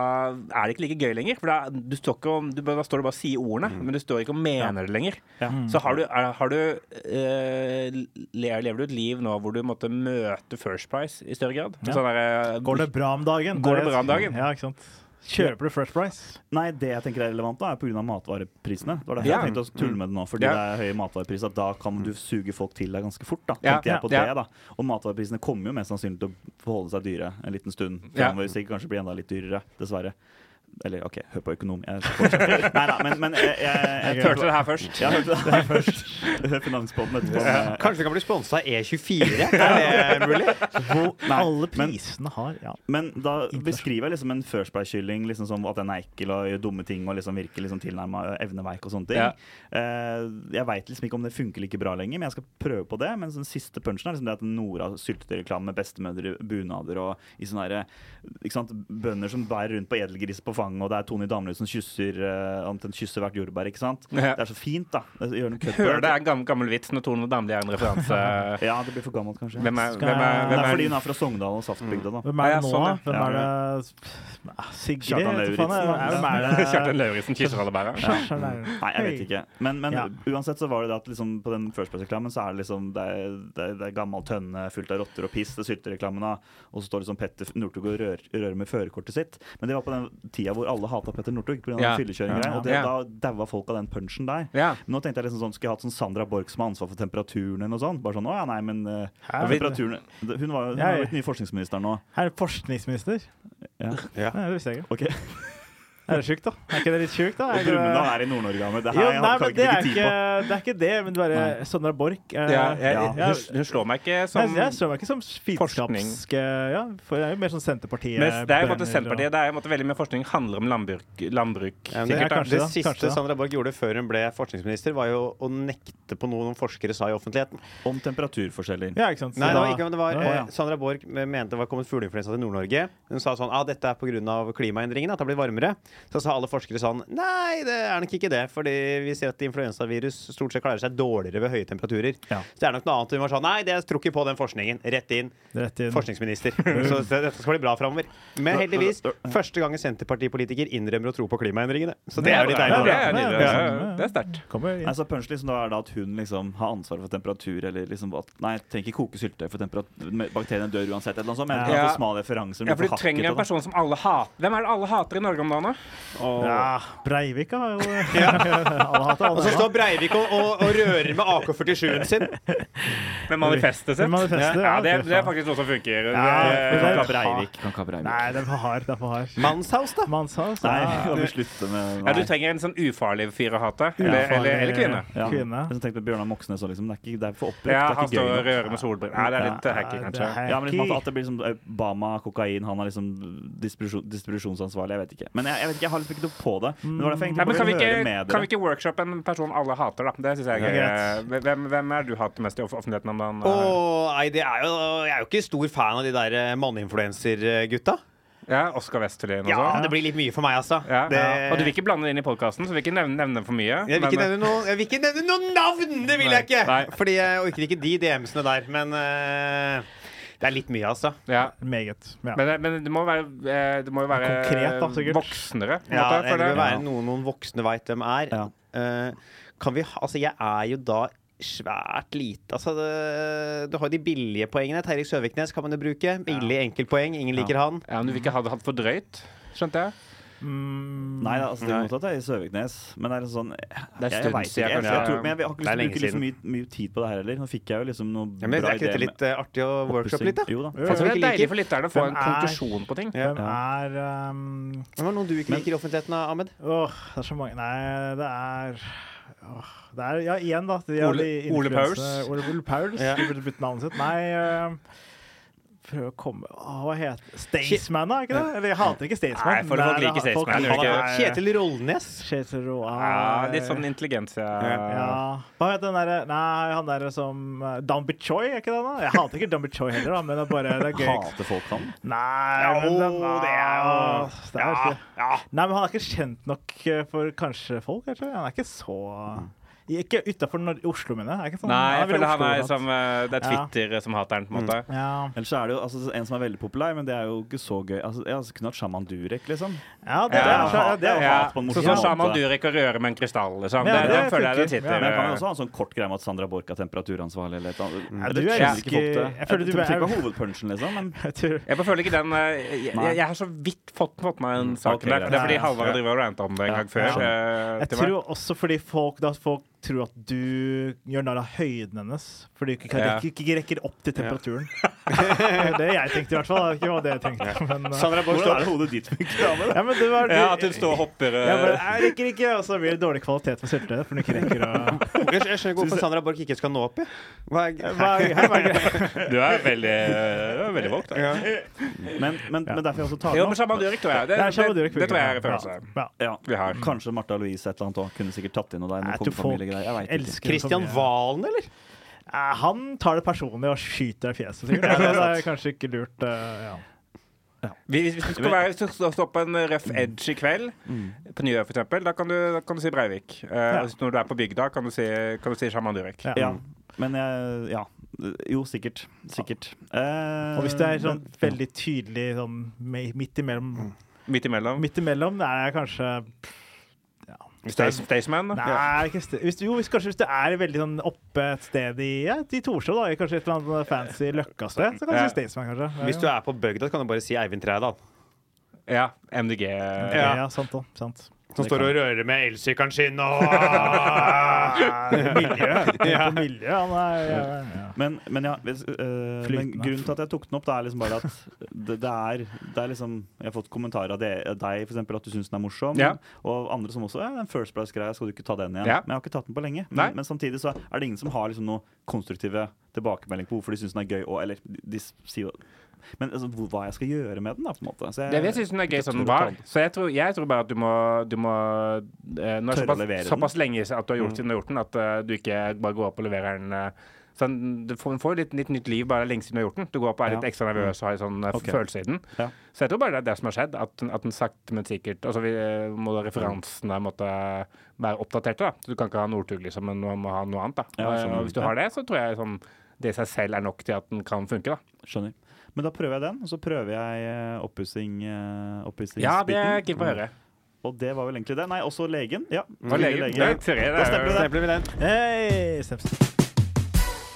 er det ikke like gøy lenger. For da, du står ikke om, du, bare- da står du bare og sier ordene, men du står ikke og mener det lenger. Ja. Mm. Så har du, er, har du eh, le- Lever du et liv nå hvor du måtte møte First Price i større grad? Ja. Sånn der, eh, Går det bra om dagen? Går det er- bra om dagen? Ja, ikke sant. Kjøper du First Price? Nei, det jeg tenker er relevant da, er pga. matvareprisene. Det var derfor Ja. jeg tenkte å tulle med det nå, fordi Ja. det er høye matvarepriser. Da kan du suge folk til deg ganske fort, da. Ja, Tenkte jeg på ja. det, da. Og matvareprisene kommer jo mest sannsynlig til å forholde seg dyre en liten stund. Ja. Fremover, sikkert kanskje blir enda litt dyrere, dessverre. Eller OK, hør på økonom. Jeg fortsetter. Nei da, men, men eh, jeg, jeg, jeg, Hørte du det her først? Jeg hørte det her først. Hør Finanspodden etterpå. Men, Kanskje vi kan bli sponsa av E E24? Er det mulig? Nei, Alle men- prisene har ja. men da beskriver jeg liksom en Firstberg-kylling liksom som at den er ekkel og gjør dumme ting og liksom virker liksom tilnærma evneveik og sånne ting. Ja. Eh, jeg veit liksom ikke om det funker like bra lenger, men jeg skal prøve på det. Men den siste punchen er liksom det at Nora sylter reklame med bestemødre i bunader og i sånne der, ikke sant, bønder som bærer rundt på edelgris på fanget, og det er Tony Damli som kysser eh, omtrent kysser hvert jordbær, ikke sant. Ja. Det er så fint, da. Gjør noe kødd på Hører det er en gammel, gammel vits når Tone Damli er en referanse. Ja, det blir for gammelt, kanskje. Hvem er, Skal hvem er, jeg- Mm. Det hvem er er, fordi hun er fra Sogndal og Saftbygda, da. Hvem er Ja, det nå, sånn, da? ja. Hvem Ja. er det Ah, Sigrid? Kjartan vet du faen, Lauritzen. Hvem er det? Kjartan Lauritzen kysser alle bæra? Kjartan Lauritzen. Nei, jeg vet ikke. Men, men Ja. uansett så var det det at liksom på den First Price-reklamen så er det liksom det er, det er, det er gammel tønne fullt av rotter og piss, det er syltereklamen da. Og så står liksom Petter Northug og rører, rører med førerkortet sitt. Men det var på den tida hvor alle hata Petter Northug pga. Ja. Ja. fyllekjøringa. Og det, Ja. da daua folk av den punchen der. Ja. Nå tenkte jeg liksom sånn, skulle jeg hatt sånn Sandra Borch som har ansvar for temperaturen eller noe sånt? Bare sånn, å ja, nei, men eh, Hæ? temperaturen Hun var jo hun har Jeg- blitt ny forskningsminister nå. Her er forskningsminister. Ja. Nei, det visste jeg ikke. Ok. Er det sjukt, da? Er ikke det litt sjukt, da? Er Og ikke det- Brumund han er i Nord-Norge, Ahmed. Det her Jo, jeg nei, kan men ikke det er bruke tid ikke, på. det er ikke det, men det er bare Sondre Borch. eh, Ja, jeg, Ja. Hun, hun slår meg ikke Nei, som jeg ser meg ikke som fiendskapsk Ja, for jeg er jo mer sånn Senterpartiet. Men det er jo på en måte bønder Senterpartiet, det er jo på en måte veldig mye forskning handler om landbruk. landbruk Ja, sikkert, men det er da. kanskje Det da, siste kanskje da. Sandra Borch gjorde før hun ble forskningsminister, var jo å nekte på noe noen forskere sa i offentligheten. Om temperaturforskjeller. Og, ja, ikke sant? Så Nei, det var da- ikke men det var, Ja. eh, Sandra Borch mente det var kommet fugleinfluensa til Nord-Norge. Hun sa sånn ah, dette er pga. klimaendringene, at det har blitt varmere. Så sa alle forskere sånn nei, det er nok ikke det, fordi vi ser at influensavirus stort sett klarer seg dårligere ved høye temperaturer. Ja. Så det er nok noe annet. Hun var sånn nei, det tror ikke på den forskningen. Rett inn. Rett inn. Forskningsminister. Så det- dette skal bli bra framover. Men heldigvis, første gang en Senterpartipolitiker innrømmer å tro på klimaendringene. Så det er jo litt Ja, det er, deilig. Ja, ja, nydelig. ja. Ja, det er sterkt. Kommer inn. Nei, så punch liksom, da er det at hun liksom har ansvaret for temperatur, eller liksom at Nei, trenger ikke koke syltetøy, for temperat- me- bakteriene dør uansett, et eller annet sånt. Men det er Ja. for smale referanser. Ja, blir for du for hakket trenger en og da. person som alle hater. Hvem er det alle hater i Norge om dagen, da? Ja, Breivik har jo Alle hater Og alle. så står Breivik og, og, og rører med AK-47-en sin. Med manifestet sitt? Med manifestet, ja, ja, det, fy det er faen. faktisk noe som funker. Det- Ja, men Kan det- ikke ha Breivik. Kan ikke ha Breivik. Nei, det er for hard. Det er for hard. Manshaus, da. Mannshaus. Nei, ja. kan vi slutte med ja, nei. du trenger en sånn ufarlig fyr å hate. Eller, eller, eller kvinne. Ja. Kvinne. Jeg tenkte på Bjørnar Moxnes og liksom, det er, ikke, det er for oppbrukt. Ja, det han er ikke står gøy og nok. rører med solbriller. Nei, det er litt eh, hacky, Nei, det kanskje. er Ja, men liksom at- hacky. at det blir liksom Obama, kokain, han er liksom distribusjon, distribusjonsansvarlig, jeg vet ikke. Men jeg, jeg vet ikke, jeg har liksom ikke noe på det. Men det var derfor Nei, jeg egentlig men bare kan vi, ville ikke, høre med kan vi dere. ikke workshoppe en person alle hater, da? Det syns jeg er Ja, gøy. Hvem, hvem er det du hater mest i off- offentligheten om dagen? Åh, nei, det er jo, jeg er jo ikke stor fan av de der eh, manneinfluencer-gutta. Ja, Oskar Westerlin og Ja, sånn? det blir litt mye for meg, altså. Ja. Det, Og du vil ikke blande det inn i podkasten, så vi vil ikke nevne, nevne for mye. jeg, vil ikke nevne noen, jeg vil ikke nevne noen navn! Det vil Nei, jeg ikke! nei. Fordi jeg orker ikke de DM-ene der. Men eh, det er litt mye, altså. ja. Meget. Ja. men, men det må være, eh, det må jo være Konkret, da, sikkert. voksnere. på en Ja, måte, det for bør det. være noen noen voksne veit hvem er. Ja. Eh, kan vi ha Altså, jeg er jo da svært lite Altså, det, du har jo de billige poengene. Terje Søviknes kan man jo bruke. Billig enkeltpoeng. Ingen liker han. Ja, men du vil ikke ha det hatt for drøyt, skjønte jeg. Mm, Nei, da, altså, det er Nei. motsatt det er i Søviknes. Men det er en sånn Det er jeg, stund jeg vet siden ikke. jeg Jeg, kanskje- jeg tror, men jeg har Det er ikke lyst til å lenge bruke siden. liksom mye, mye tid på det her heller. Nå fikk jeg jo liksom noe Ja, men bra er ikke dette idé litt eh, artig å med workshoppe litt, da? Jo da. Jeg tror det Folk er liker- deilig for lytterne å få Hvem en er- konklusjon på ting. Ja. Hvem er um, Hvem er noen du ikke Men- liker i offentligheten, da, Ahmed? Åh, det er så mange Nei, det er åh, Det er, ja, igjen, da. De, Ole- de Ole Paus. influensene- Ole, Ole Paus. Ja. Du burde bytte navnet sitt. Nei øhm, Prøv å komme åh, Hva heter Staysman, da? ikke det? Eller jeg hater ikke Staysman. Nei, for men folk det er- liker Staysman, folk- gjør de ikke Nei, Kjetil Rollnes. Kjetil Roa eh, Ja, litt sånn intelligens, ja. ja. Hva heter den derre Nei, han derre som eh, Dan Bichoy, er ikke det? da? Jeg hater ikke Dan Bichoy heller, da, men det er bare det er gøy. Hater folk sånn. han? Nei, men Jo, den, det er jo- det er ikke- Nei, men han er ikke kjent nok eh, for kanskje folk, kanskje? Han er ikke så Mm. Ikke utafor Oslo, mener jeg. Er ikke sånn, Nei, han jeg er føler veldig han er Oslo-kant. som eh, Det er Twitter som hater den, på en Mm. måte. ja. Ellers så er det jo altså, en som er veldig populær, men det er jo ikke så gøy. Altså, jeg altså, kunne hatt Shaman Durek, liksom. ja, Ja, det, er- ha- ja, det er Ja, hat på en så morsom sånn sa man måte. Durek og røre med en krystall, liksom. Ja, Det, det, det føler jeg det funker. sitter Ja, Men jeg kan jo eh, også ha en sånn kort greie med at Sandra Borch er temperaturansvarlig eller et eller Ja, annet. Jeg du tror elsker- ikke folk det. jeg føler du tror er- ikke det var hovedpunchen, liksom. Men Jeg tror- Jeg bare føler ikke den eh, Jeg, jeg, jeg har så vidt fått, fått meg den saken ok, der. Det er fordi greit. Halvard driver og ranter om det en gang før. jeg eh, Jeg til meg. tror også fordi folk, da, folk tror at du gjør narr av høyden hennes. Fordi du ikke, kan, Ja. rekker- ikke rekker opp til temperaturen. det jeg tenkte i hvert fall. Det er ikke hva dere tenkte. Men, eh, Sandra Borch står hvordan er det hodet ditt funker? ja, men det var, Ja, at hun står og hopper. eh, Jeg, bare, jeg rekker ikke, og så blir det dårlig kvalitet på syltetøyet. For du ikke rekker å Jeg skjønner ikke hvorfor Sandra Borch ikke skal nå opp i. Hva er- Hva er- hva er greia? Du er veldig, du er veldig våt. da. Ja. Men, men, men derfor jeg også tar Jo, den men opp. Shaman Durek tror jeg. Det, Det er det, Shabba Durek det, tror jeg er funker. referanse. Ja. Ja. Ja. Vi har. Kanskje Martha Louise et eller annet òg. Kunne sikkert tatt inn noe der. Jeg Noe tror folk kongefamiliegreier. Jeg vet ikke. elsker det for Christian mye. Valen, eller? Eh, Han tar det personlig og skyter deg i fjeset, sikkert. Så det er kanskje ikke lurt. eh, ja. Vi- Hvis du skal være, hvis du skal stå på en røff Mm. edge i kveld, på Njø for eksempel da kan, du, da kan du si Breivik. Eh, hvis Når du er på bygda, kan du si, kan du si Shaman Durek. Ja. Ja. Men jeg Ja. Jo, sikkert. Sikkert. Eh, Og hvis du er sånn men- veldig tydelig sånn me- midt imellom, Midt imellom. midt imellom er jeg kanskje Stays- Staysman. da. Nei, ikke ste- hvis, jo, hvis, kanskje hvis du er veldig sånn oppe et sted i, ja, i Torshov, da, i kanskje et eller annet sånn fancy Løkka-sted, så Ja. kanskje Staysman, kanskje. Ja, Hvis du er på bygda, kan du bare si Eivind Trædal. Ja. MDG. ja. ja. sant da. Sant. Som står og rører med elsykkelen sin og Miljø. Miljø han er, ja, ja. Men, men ja, hvis, øh, men Flytende. grunnen til at jeg tok den opp, det er liksom bare at det, det, er, det er liksom Jeg har fått kommentarer av det- av deg for eksempel, at du syns den er morsom, Ja. og andre som også ja, den First Price-greia, skal du ikke ta den igjen? Ja. Men jeg har ikke tatt den på lenge. Nei. Men, men samtidig så er det ingen som har liksom noe konstruktive tilbakemelding på hvorfor de syns den er gøy, og eller de, s- sier jo- men altså, hvor- hva jeg skal gjøre med den, da, på en måte. Så jeg- Det jeg synes den er gøy jeg som den tør å ta var. Så jeg tror, jeg tror bare at du må, du må eh, Nå er det Tørre å levere såpass, den. Mm. såpass lenge at du har gjort siden du har gjort den, at eh, du ikke bare går opp og leverer den. eh, så den- du får, den får litt, litt nytt liv bare lenge siden du har gjort den. Du går opp og er Ja. litt ekstra nervøs og har en sånn eh, Ok. følelse i den. Ja. Så jeg tror bare det er det som har skjedd, at, den- at den sakte, men sikkert Altså vi, eh, må da referansene måtte være oppdaterte, da. Så du kan ikke ha Northug, liksom, men du må ha noe annet, da. Eh, Ja, jeg skjønner. og hvis du har det, så tror jeg sånn det i seg selv er nok til at den kan funke, da. Skjønner. Men da prøver jeg den, og så prøver jeg eh, oppussing. eh, oppussingsbiten. Ja, det er keen på å høre. Og det var vel egentlig det. Nei, også legen. Ja, Og legen. lege. Det er tre, det Da er jo- stempler vi Mm. det. Stempler vi den. Hei, Steps.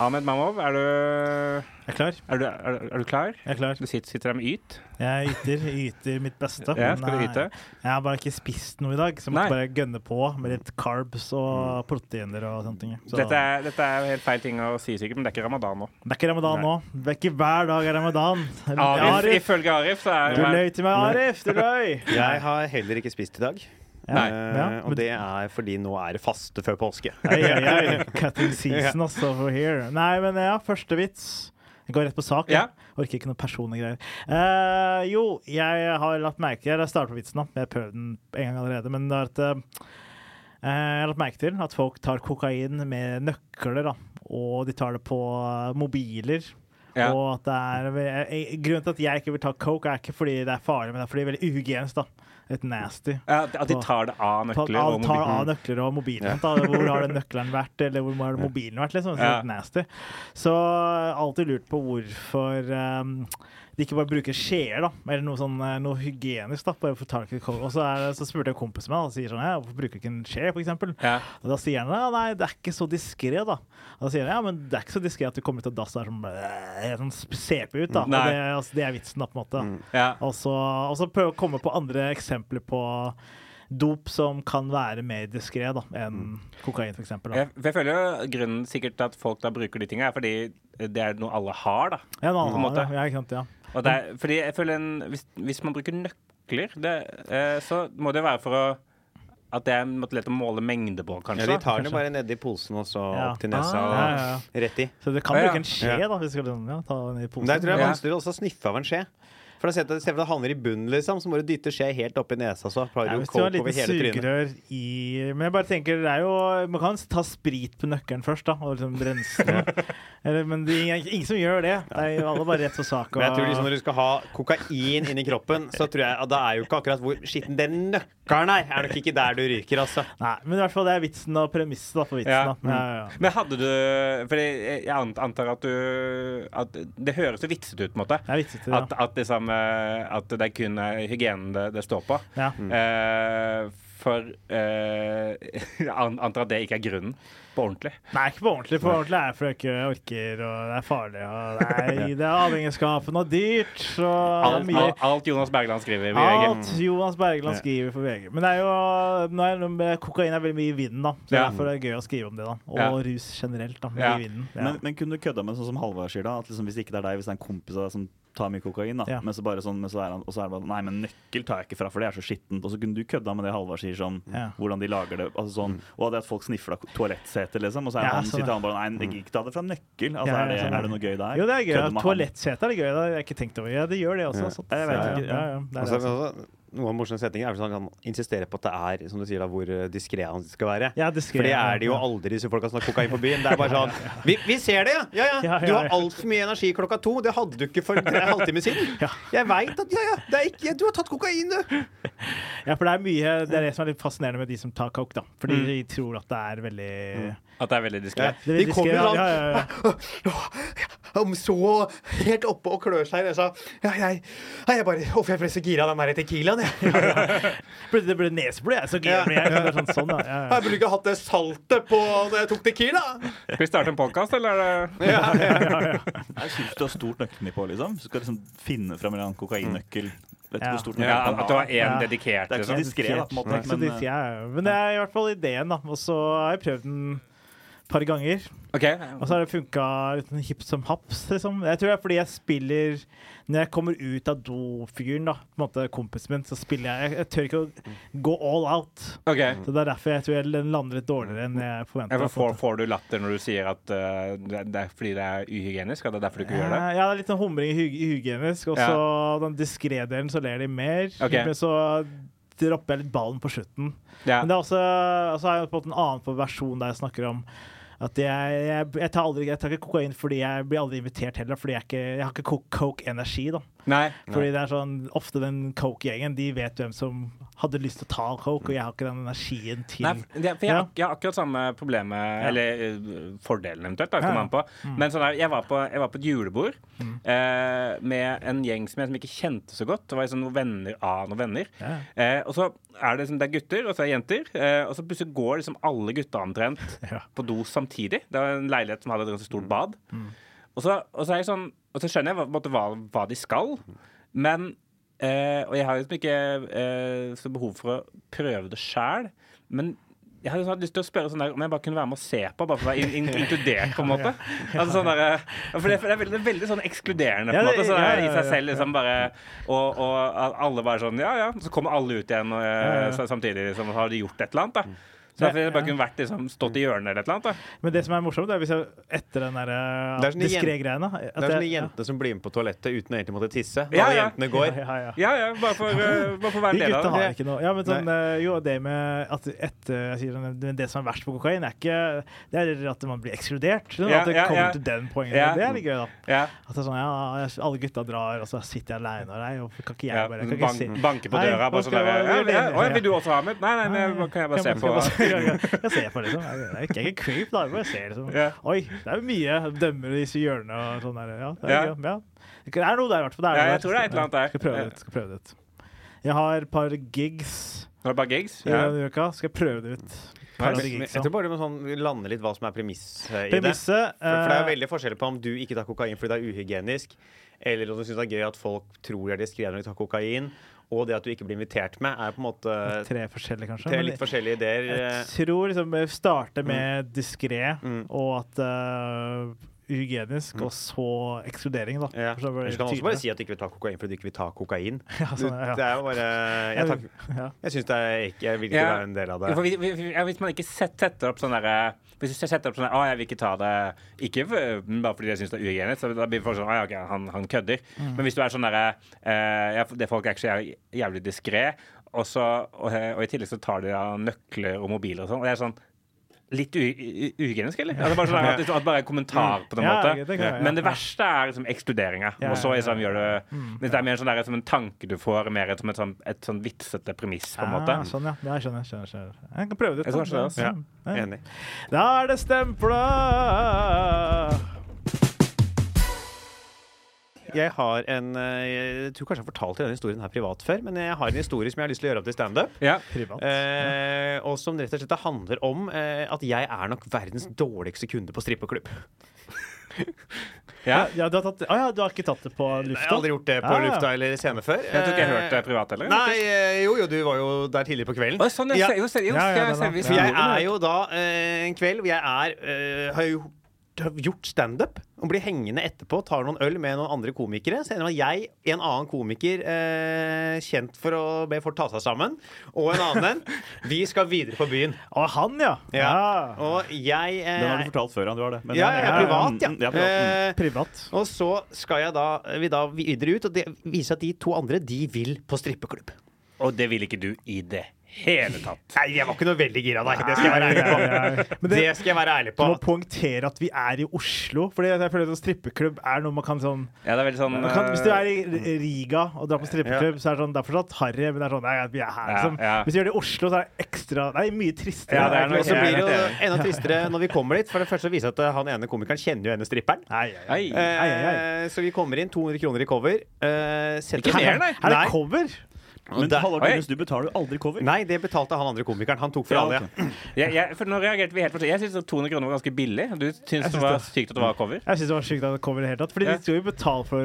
Ahmed Mamov, er du Jeg er klar. Er du, er, du- er du klar? Jeg er klar. Du sitter, sitter der med yt. Jeg yter, yter mitt beste. Ja, skal du Nei. yte? Jeg har bare ikke spist noe i dag, så jeg Nei. Mm. måtte bare gønne på med litt carbs og proteiner og sånne ting. Så Dette er, dette er jo helt feil ting å si, sikkert, men det er ikke ramadan nå. det er ikke ramadan nå. Det er ikke hver dag er ramadan. Arif, Arif, ifølge Arif så er du løy til meg, Arif! Du løy! Jeg har heller ikke spist i dag. Nei. Eh, Ja, og men- det er fordi nå er det faste før påske. Ei, ei, ei. Cutting season, altså, for here. Nei, men ja, første vits. Jeg går rett på sak. Ja. jeg. Orker ikke noen persongreier. Eh, jo, jeg har latt merke til Jeg starter på vitsen, da. Jeg har prøvd den en gang allerede. Men det er at eh, jeg har lagt merke til at folk tar kokain med nøkler, da. Og de tar det på eh, mobiler. Ja. Og at det er eh, Grunnen til at jeg ikke vil ta coke, er ikke fordi det er farlig, men det er fordi det er veldig uhygienisk, da. Litt nasty. Ja, at de tar det av nøkler Ta- og ta av mobilen. nøkler og mobilen. Da. Hvor har den nøkkelen vært, eller hvor har mobilen vært? Liksom. Så, det er Ja. litt nasty. så eh, alltid lurt på hvorfor ehm, de ikke bare bruker skjeer, da, eller noe, sånn, eh, noe hygienisk. da, bare for å ta det ikke kold. Og så, er, det- så spurte jeg kompisen min, da, og sier sånn, ja, hvorfor bruker du ikke en skje, for eksempel? Ja. Og da sier han ja, nei, det er ikke så diskré, da. Og da sier han ja, men det er ikke så diskré at du kommer ut av dass og er sånn, øh, sånn CP ut, da. Og Nei. det, er- altså, det er vitsen, da, på en måte. Ja. Og så, og så prøve å komme på andre eksempler på dop som kan være mer diskré Mm. enn kokain, f.eks. Ja, Jeg, for jeg føler jo grunnen sikkert til at folk da bruker de tinga, er fordi det er noe alle har, da. en på en annen, måte. ja, ikke sant, ja. Og det er, fordi jeg føler en, hvis, hvis man bruker nøkler, det, eh, så må det være for å at det er en måte lett å måle mengde på, Ja, kanskje. de da. tar den jo bare nedi posen og så Ja. opp til Ah, nesa ja, ja, ja. og rett i. Så du kan Ja, ja. bruke en skje, Ja. da. Hvis du skal ja, ta den i posen. Der tror jeg det Ja. er vanskeligere også å sniffe av en skje. For da ser du at det havner i bunnen, liksom, så må du dytte skje helt opp i nesa. Så har Ja, du hvis du coke har en over liten hele trynet. sugerør i Men jeg bare tenker, det er jo Man kan ta sprit på nøkkelen først, da, og liksom rense den. Eller, men det er ingen som gjør det. det er jo alle bare rett på sak. Men jeg tror liksom og- Når du skal ha kokain inni kroppen, så tror jeg at da er jo ikke akkurat hvor skitten den nøkkelen er, er nok ikke der du ryker, altså. Nei, men i hvert fall det er vitsen og premisset da, for vitsen. Ja. Da. Ja, ja, ja. Mm. Men hadde du Fordi jeg jeg ant- antar at du At det høres jo vitsete ut, på en måte. Det er vitsete, ja. At, at, liksom, eh, at det er kun eh, hygienen det, det står på. Ja. Mm. Eh, for eh, jeg an, antar at det ikke er grunnen på ordentlig. Nei, ikke på ordentlig. På ordentlig er det fordi jeg ikke orker, og det er farlig. Og det er, det er avhengighetsskapen og dyrt. Så Alt, mye, alt, alt Jonas Bergland skriver i VG. alt Jonas Bergland skriver for VG. Men det er jo, nå er, det- kokain er veldig mye i vinden, da. Så Ja. derfor er det gøy å skrive om det. da Og Ja. rus generelt. da, mye Ja. i vinden. Ja. Men, men kunne du kødda med sånn som Halvard sier, da? At liksom, hvis ikke det er deg, hvis det er en kompis av deg som tar mye kokain, da, Ja. men så bare sånn, men så er han, og så er det bare Nei, men nøkkel tar jeg ikke fra, for det er så skittent. Og så kunne du kødda med det Halvard sier, sånn Ja. hvordan de lager det, altså sånn Mm. Og det at folk sniffer av toalettseter, liksom, og så er Ja, han, sånn, sitter ja. han bare Nei, jeg gidder ikke ta det fra nøkkel. Altså, Ja, er, det, ja, sånn. er det noe gøy der? jo, det er Kødde gøy. med han. Toalettsete er det gøy. Det har jeg ikke tenkt over. Ja, det gjør det også. Ja. sånn. Jeg vet ikke, Ja, ja. ja, ja. Det er Altså, det, altså. altså, noen morsomme setninger er vel sånn at han insisterer på at det er som du sier da, hvor eh, diskré han skal være. Ja, diskret, For det er det jo ja. aldri hvis folk har snakket kokain på byen. Det er bare sånn Vi, vi ser det, ja! Ja, ja. Ja, ja, Du har ja. altfor mye energi klokka to. Det hadde du ikke for en halvtime siden. Ja. Jeg veit at Ja, ja! Det er ikke Du har tatt kokain, du! ja, for det er mye Det er det som er litt fascinerende med de som tar coke, da. Fordi de tror at det er veldig At det er veldig diskré. det er veldig Mm. De kommer diskret, sånn ja, ja, ja. Om så helt oppe og klør seg i nesa. Ja, jeg, ja, jeg bare Uff, jeg ble så gira av den der Tequilaen, jeg. Ble- Det ble neseblod, jeg. Så gøy Ja. ble jeg. Det ble Sånn, sånn, da. ja, ja. Jeg burde ikke hatt det saltet på da jeg tok Tequila. Skal vi starte en podkast, eller? er det- Jeg syns du har stort nøkkelnippå, liksom. Du skal liksom finne fram en eller annen kokainnøkkel. Vet ikke Ja. hvor stort nøkkel Ja, han at det var har. én Ja. dedikert. Det er ikke så liksom. diskré, da, på en måte. Så Men, det, ja, ja. men det er i hvert fall ideen, da. Og så har jeg prøvd den par ganger. OK. Og så har det funka uten hipp som haps, liksom. Jeg tror det er fordi jeg spiller Når jeg kommer ut av dofyren, da, på en måte kompisen min, så spiller jeg Jeg tør ikke å gå all out. ok. Så det er derfor jeg tror jeg den lander litt dårligere enn jeg Ja, forventa. for får, får du latter når du sier at eh, det det er fordi det er uhygienisk? At det er derfor du ikke gjør det? Ja, det er litt sånn humring hu- hygienisk. Og så den diskré delen, så ler de mer. Ok. Men så dropper jeg litt ballen på slutten. Ja. Men det er også, og så har jeg på en måte en annen versjon der jeg snakker om at jeg, jeg, jeg, tar aldri, jeg tar ikke kokain fordi jeg blir aldri invitert heller, fordi jeg, ikke, jeg har ikke co- coke-energi. da. Nei. Fordi det er sånn, Ofte den coke-gjengen de vet hvem som hadde lyst til å ta coke, og jeg har ikke den energien til Nei, for det- for jeg, har- jeg har akkurat samme problemet, eller eh, fordelen eventuelt, da, kommer Ja. Mm. an på. Men sånn der, jeg, var på, jeg var på et julebord eh, med en gjeng som jeg som ikke kjente så godt. Det var liksom noen venner av noen venner. Ja. Eh, og så er det, liksom, det er gutter, og så er det jenter. Eh, og så plutselig går liksom alle gutta omtrent Ja. på do samtidig. Det var en leilighet som hadde et ganske stort bad. Og, så, og, så er jeg sånn, og så skjønner jeg hva, på en måte hva, hva de skal, men eh, Og jeg har liksom ikke eh, så behov for å prøve det sjæl, men jeg hadde sånn hatt lyst til å spørre sånn der, om jeg bare kunne være med og se på, bare for å være in in inkludert, på en måte. Altså sånn der, eh, for det, for det er veldig, veldig sånn ekskluderende, på Ja, en det- måte. Så det ja, er i ja, seg ja, selv liksom bare Og, og at alle bare sånn Ja, ja. Så kommer alle ut igjen og, eh, ja. Mm. sa- samtidig, liksom. og så Har de gjort et eller annet, da? Så Ja, derfor jeg bare ja. kunne vært liksom, stått i hjørnet eller et eller annet. da Men det som er morsomt, det er hvis jeg etter den der, Det er sånne diskré greiene at Det er sånne jeg- ja. jentene som blir med på toalettet uten å egentlig måtte tisse. Når Ja, alle ja. jentene går. Ja, ja, ja. Ja, ja, bare for, eh, bare for å være De en del gutta av har det. ikke noe. Ja, men sånn, eh, jo, det med at etter, jeg sier, sånn, det- det som er verst på kokain, er ikke det er at man blir ekskludert. Sånn, Ja, at det ja, kommer ja. til den poenget. Ja. Det er litt gøy, da. Ja, At det er sånn, ja, jeg- alle gutta drar, og så sitter jeg aleine. Nei, hvorfor kan ikke ja. jeg bare kan ikke Bank, si banke på Nei, døra. hva Bare skal sånn der, jeg ja, gjøre? ja, å, Vil du også ha med? Nei, nei, men jeg- kan jeg bare se på? Jeg ser på, liksom. Jeg er ikke creep, da. Jeg bare ser, liksom. Ja. Oi, det er jo mye dømmer i disse hjørnene og sånn der. Ja, det Ja. er, gøy, ja. Det er noe der, i hvert fall. Det Ja, er noe jeg der. tror det er et eller annet der. Skal prøve det ut. Skal prøve det ut. Jeg har et par gigs. Eh, Var det bare gigs? i Ja. denne uka. Skal jeg prøve det ut. Nei, Men- Paradis men Jeg Geeks, da. tror bare du må sånn lande litt hva som er premiss eh, i det. For, Premisset for det er eh, veldig forskjell på om du ikke tar kokain fordi det er uhygienisk, eller om du syns det er gøy at folk tror de er diskré når de tar kokain, og det at du ikke blir invitert med, er på en måte tre forskjellige, kanskje. tre Men litt forskjellige ideer. eh. jeg tror liksom jeg starter med diskré Mm. og at eh, Uhygienisk, og så ekskludering, da. Eh, Ja. For så blir det Ellers kan man også tydeligere. bare si at du ikke vil ta kokain fordi du ikke vil ta kokain. ja, sånn, Du- Det ja. er jo bare Jeg, tar, Ja. jeg syns det er ikke Jeg vil ikke Ja. være en del av Ja, det. for hvis, hvis- ja, hvis man ikke set- setter opp sånn derre Hvis du setter opp sånn der, Å, jeg vil ikke ta det Ikke for, men bare fordi jeg syns det er uhygienisk, så da blir folk sånn Å ja, ok, han, han kødder. Mm. Men hvis du er sånn derre eh, ja, Det folk er ikke så jæv- jævlig diskré, og, så- og, eh, og i tillegg så tar de da nøkler og mobiler og sånn, og det er sånn Litt u- u- uhygienisk, eller? Altså bare sånn at, det- at bare en kommentar på den Ja, måten. det kan jeg, ja. Men det verste er liksom ekskluderinga. Ja, Og så ja, Mm. liksom ja. gjør du Hvis det er mer sånn der, som en tanke du får, mer et- som et sånn, et sånn vitsete premiss, på en måte. Ah, sånn, ja. ja. Jeg skjønner, skjønner, skjønner. Jeg kan prøve det Jeg ut. tror kanskje det, da. altså. Ja. Ja. Enig. Da er det stempla! Jeg har en eh, Jeg tror kanskje jeg har fortalt denne historien her privat før, men jeg har en historie som jeg har lyst til å gjøre opp til standup. Ja. Privat. Eh, og som rett og slett handler om eh, at jeg er nok verdens dårligste kunde på strippeklubb. ja. ja, du har tatt, ah, ja, du har ikke tatt det på Jeg har lufta? aldri gjort det på Ah, ja. lufta eller scene før. Jeg tror ikke jeg hørte det privat heller. Nei, eh, jo jo, du var jo der tidlig på kvelden. Å, sånn, jeg Ja. ser jo, ser jo, Ja, ja, skal jeg den se er- hvis For jeg jeg er jo da eh, en kveld hvor jeg er, eh, har jo gjort- gjort standup. Og blir hengende etterpå, tar noen øl med noen andre komikere. Så ender det med at jeg, en annen komiker, eh, kjent for å be folk ta seg sammen, og en annen en, vi skal videre på byen. Å, han, ja! Ja. ja. Og jeg eh, Den har du fortalt før, ja. Du har det. eh, Men- ja, ja, ja, privat, ja. mm, ja, privat, mm. Eh, Privat. og så skal jeg da, eh, vi da videre ut, og det viser at de to andre de vil på strippeklubb. Og det vil ikke du i det hele tatt. Nei, jeg var ikke noe veldig gira, nei. Det skal jeg være ærlig Ja, på. ja, ja. Men det- Det skal jeg være ærlig Du på. må poengtere at vi er i Oslo. Fordi jeg føler at strippeklubb er noe man kan sånn Ja, det er veldig sånn man kan, Hvis du er eh, i R- Riga og drar på strippeklubb, så er det sånn Det er fortsatt harry, men det er sånn Nei, vi er her, Ja, liksom. ja. Hvis du gjør det i Oslo, så er det ekstra Det er mye tristere. Ja, det er noe Og så Jeg blir det jo helt enig. enda tristere når vi kommer dit. For det første viser at eh, han ene komikeren kjenner jo henne stripperen. Nei, nei, nei. Ei. Ai, ai, Eh, så vi kommer inn, 200 kroner i cover. Eh, setter- Ikke mer, nei. Er det cover? Og Men der- Halvard Oi. Thoresen, du betaler jo aldri cover. Nei, det betalte han andre komikeren. Han tok for Ja, alle. ok. jeg, jeg, for nå reagerte vi helt forskjellig. Jeg syns 200 kroner var ganske billig. Du syns det synes var det. sykt at det var cover? Jeg syns det var sykt at det cover i det hele tatt. Fordi Ja. de skal jo betale for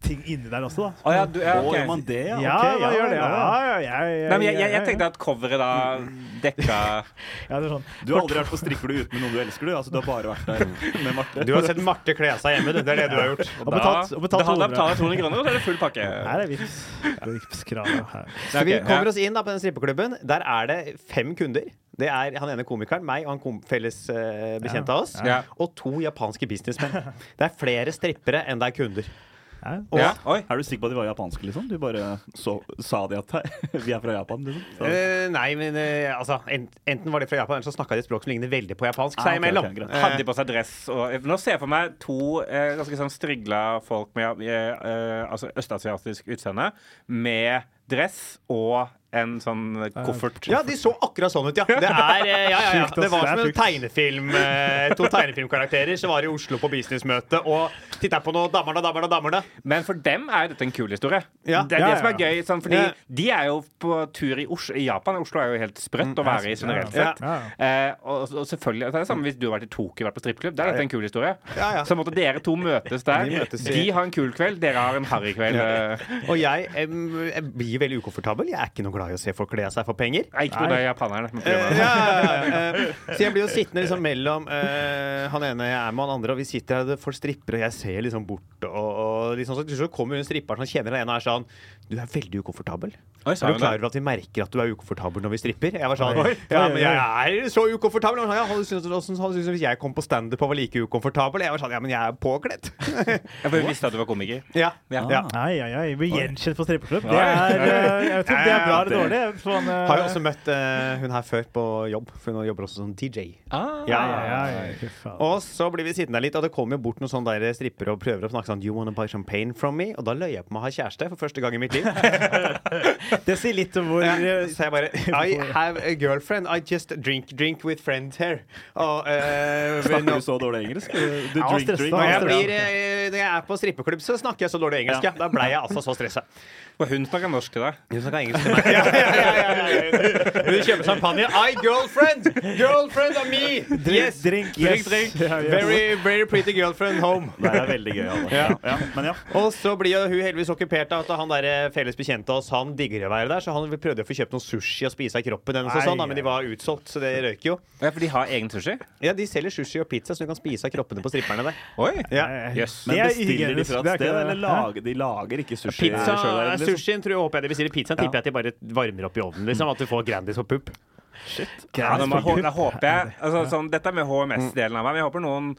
ting inni der også, da. Å ja, du, ja, Å, ok. gjør man det, ja? Ja, Ok, man gjør det. Ja, ja, ja, ja. ja, ja, ja, Nei, men jeg, ja, jeg, jeg ja. tenkte at coveret da dekka Ja, det er sånn. Du har aldri vært på strikker du uten med noen du elsker, du. Altså, du har bare vært der med Marte. Du har sett Marte kle av seg hjemme, du. Det er det du har gjort. Og betalt, og betalt da hadde han betalt 200. 200 kroner, og så er det full pakke. Her er Vipps. Det er Vipps-kravet her. Så Ok, vi ja. kommer oss inn da på den strippeklubben. Der er det fem kunder. Det er han ene komikeren, meg og han kom felles eh, bekjente av oss. Ja. Og to japanske businessmenn. Det er flere strippere enn det er kunder. Ja. Og Ja, oi. Er du sikker på at de var japanske, liksom? Du bare så, sa de at vi er fra Japan, liksom? Så, Eh, nei, men eh, altså ent, Enten var de fra Japan, eller så snakka de et språk som ligner veldig på japansk Ah, seg ok, ok, imellom. greit. Hadde de på seg dress og Eh, Nå ser jeg for meg to eh, ganske sånn strigla folk med eh, eh, altså østasiatisk utseende med dress og en sånn koffert. Ja, de så akkurat sånn ut, ja. Det, er, eh, ja, ja, ja. Sjukt, ass. det var Det er som en sjukt. tegnefilm. eh, To tegnefilmkarakterer som var i Oslo på businessmøte og titta på noe damerne og damerne og damerne. Men for dem er dette en kul historie. Ja. Det er Ja, det som er ja, gøy. Sånn, fordi Ja. de er jo på tur i, Oslo, i Japan. Oslo er jo helt sprøtt å være i generelt ja. sett. Ja. Eh, og, og selvfølgelig, det er det samme hvis du har vært i Tokyo vært på strippeklubb. Da er dette en kul historie. Ja, ja. Så måtte dere to møtes der. De møtes i- De har en kul kveld, dere har en harry kveld. eh. Og jeg, em, jeg blir veldig ukomfortabel. Jeg er ikke noe glad i å se folk kle av seg for penger. Nei, ikke noe det er japanerne. men Eh, problemet. ja, ja, ja, ja. Eh, Så jeg blir jo sittende liksom mellom eh, han ene jeg er med, og han andre, og vi sitter her, og folk stripper, og jeg ser liksom bort, og, og liksom, så til slutt kommer hun stripperen som kjenner deg igjen, og er sånn Du er veldig ukomfortabel. Oi, sa Er hun du det? klar over at vi merker at du er ukomfortabel når vi stripper? Jeg var sånn Oi. Ja, men jeg er så ukomfortabel! Og han sa, Ja, han synes, han synes, han synes hvis jeg kom på standup og var like ukomfortabel, jeg var sånn Ja, men jeg er påkledd. Jeg bare visste at du var komiker. ja. Ja. ja. Ai, ai, ai. Blir gjenkjent på strippeklubb. Det Oi. er eh, Jeg vet ikke om det er bra eller dårlig. Sånn, eh, Har jo også møtt eh, hun her før på jobb, for hun jobber også som DJ. Ah. Ja, Ai, ai, ai. Fy faen. Og så blir vi sittende der litt, og det kommer jo bort noen sånne der strippere og prøver å snakke sånn You wanna buy champagne from me? Og da løy jeg på meg å ha kjæreste for første gang i mitt liv. Det sier litt om hvor Ja, eh, Så jeg bare I have a girlfriend. I just drink drink with friend here. Og, eh, men- Snakker du så dårlig engelsk? Du var drink, stresset, drink. når jeg jeg, var blir, eh, når jeg er på strippeklubb, så snakker jeg så dårlig engelsk. Ja. Da blei jeg altså så stressa. Og hun snakker norsk til deg. Hun snakker engelsk til meg. Ja, ja, ja, ja, ja. Hun kjøper champagne. I girlfriend! Girlfriend of me! Yes! Drink, Drink, yes. drink. Ja, yes. Very, very pretty girlfriend home. Det er veldig gøy. Alle. Ja. Ja, men ja. Og så blir jo hun heldigvis okkupert av at han der eh, felles bekjente av oss, han digger å være der, så han prøvde å få kjøpt noe sushi og spise av kroppen hennes og Nei, sånn, da, men ja. de var utsolgt, så det røyker jo. Ja, for de har egen sushi? Ja, de selger sushi og pizza, så du kan spise av kroppene på stripperne der. Oi! Ja. Nei, Jøss. Men det er bestiller de uhygienisk. fra Det et er sted, ikke- eller Hæ? lager, de lager ikke sushi Pizza, selv, eller liksom? Sushien tror jeg håper jeg de bestiller pizzaen. Tipper jeg at de bare varmer opp i ovnen. liksom At du får Grandis og pupp. Ja, nå må, jeg hå- da håper jeg altså, sånn, Dette er med HMS-delen av meg, men jeg håper noen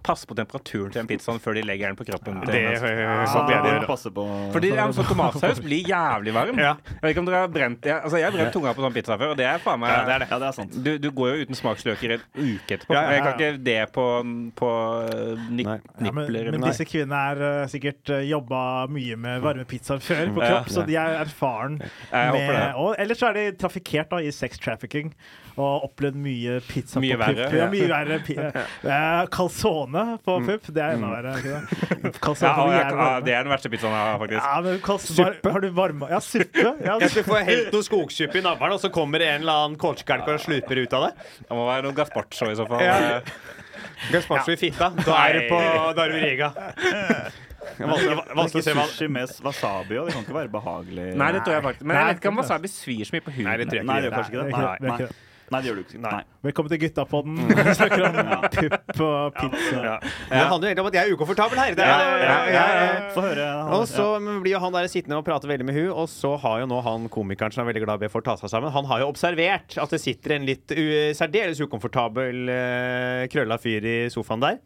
passer på temperaturen til den pizzaen før de legger den på kroppen. til den. Det eh, Ah. Så håper jeg de de gjør. passer på Fordi ja, sånn tomatsaus blir jævlig varm. Ja. Jeg vet ikke om dere har brent jeg, Altså, jeg har brent tunga på sånn pizza før, og det er faen meg Ja, det er det. Ja, det er sant. Du, du går jo uten smaksløker en uke etterpå. Ja, ja, ja, Jeg kan ikke det på, på eh, nip, Nei. Ja, men, nipler men disse kvinnene er eh, sikkert uh, jobba mye med varme pizzaer før på Ja. kropp, så de er erfaren jeg håper med det. og, Ellers så er de trafikkert da, i sex trafficking og opplevd mye pizza Mye på verre. Mm. pupp. Ja, mye verre. Pi eh, calzone på pupp, det er enda verre. er Ikke det? Calzone Ja, og kan jeg, ja, jævlig varme. det er den verste pizzaen jeg har, faktisk. ja, men calzone, Suppe. Har du varma Ja, suppe. Ja, Jeg skulle få helt noe skogsuppe i navlen, og så kommer en eller annen kålskalk og sluper ut av det. Det må være noe gazpacho i så fall. Ja. Gazpacho i fitta. Da er du på Da er du i Riga. Vanskelig vanskelig å se hva Sushi med wasabi og det kan ikke være behagelig. Nei, det tror jeg faktisk. Men Nei, jeg vet ikke om det- wasabi svir så mye på huden. Nei, det tror jeg Nei, det gjør kanskje ikke det. Nei, det Nei, gjør ikke det. nei. nei det gjør du ikke. Nei. Velkommen til Guttapodden. Mm. Vi snakker om pupp og pizza. Ja. Det handler jo egentlig om at jeg er ukomfortabel her. Det Ja, er, ja, ja, Få høre. Hanne. Og så blir jo han der sittende og prater veldig med hun og så har jo nå han komikeren som er veldig glad i BFOR ta seg sammen, han har jo observert at det sitter en litt u særdeles ukomfortabel eh, krølla fyr i sofaen der.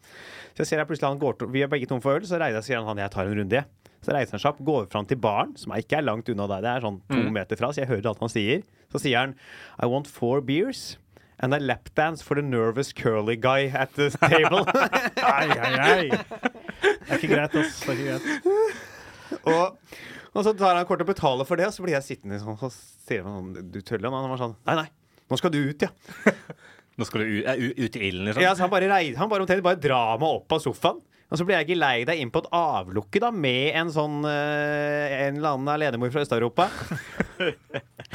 Så jeg ser her plutselig han går to, Vi er begge tom for øl, så reiser jeg sier han, han jeg tar en runde. jeg». Så reiser han seg opp, går fram til baren, som er- ikke er langt unna der, det er sånn Mm. to meter fra, så jeg hører alt han sier. Så sier han I want four beers. And a lapdance for the nervous curly guy at the table. Ai, ai, ai. Det er ikke greit, ass. Det er ikke greit. Og, og så tar han kortet og betaler for det, og så blir jeg sittende sånn, så sier han sånn Du tøller han? Og han var sånn Nei, nei. Nå skal du ut, ja. Nå skal du ut, er u- ut i ilden, liksom? ja så han bare, rei- han bare omtrent bare drar meg opp av sofaen. Og så blir jeg ikke lei deg inn på et avlukke da med en sånn eh, En eller annen alenemor fra Øst-Europa.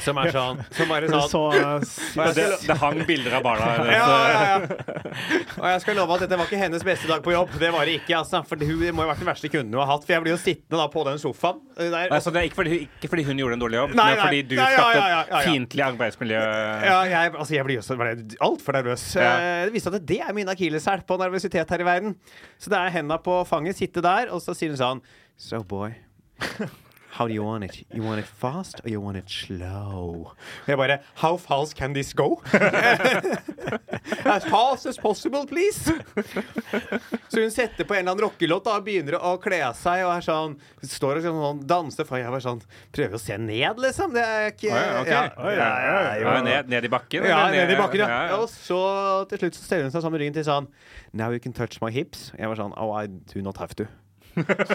Som er sånn Som bare For sånn så, eh, og jeg, Det, skal, det hang bilder av barna hennes. eh. ja, ja, ja. og jeg skal love at dette var ikke hennes beste dag på jobb. Det var det ikke, altså. For hun må jo ha vært den verste kunden hun har hatt. For jeg blir jo sittende da på den sofaen eh, der. Altså, det er ikke fordi, ikke fordi hun gjorde en dårlig jobb, Nei, men nei. fordi du Nei, ja, skapte ja, ja, ja, et ja. fiendtlig arbeidsmiljø. Ja, jeg, altså jeg blir jo så altfor nervøs. Ja. Eh, Det viste at det er min akilleshæl på nervøsitet her i verden. Så det er henda på fanget, sitte der, og så sier hun sånn So, boy. How do you want it? You want it fast, or you want it slow? Og jeg bare How fast can this go? as fast as possible, please! Så hun setter på en eller annen rockelåt da, og begynner å kle av seg og er sånn Står og sånn, danser, for jeg var sånn Prøver å se ned, liksom. Det er ikke Å ja, ok. ja, ja, ja, ja. Ja, ned, ned i bakken? Ja, eller ned i bakken, Ja, ja. ja. Og så til slutt så steller hun seg sammen med ryggen til sånn Now you can touch my hips. Jeg var sånn Oh, I do not have to.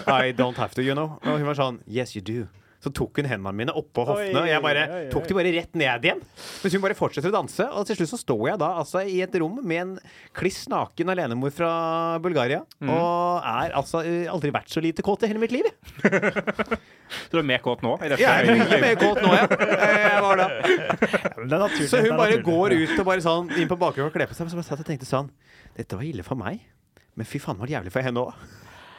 I don't have to, you know. Og hun var sånn Yes, you do. Så tok hun hendene mine oppå hoftene, og jeg bare oi, oi. tok de bare rett ned igjen. Mens hun bare fortsetter å danse. Og til slutt så står jeg da altså i et rom med en kliss naken alenemor fra Bulgaria. Og er altså eh, aldri vært så lite kåt i hele mitt liv. jeg. Så du er mer kåt nå? I dette Jeg er mye øyeblikket? mer kåt nå, jeg. jeg var det. det er naturlig. Så det hun er bare naturlig. går ut og bare sånn inn på bakgrunnen og kler på seg. Så jeg satt og tenkte sånn Dette var ille for meg, men fy faen var det jævlig for henne òg.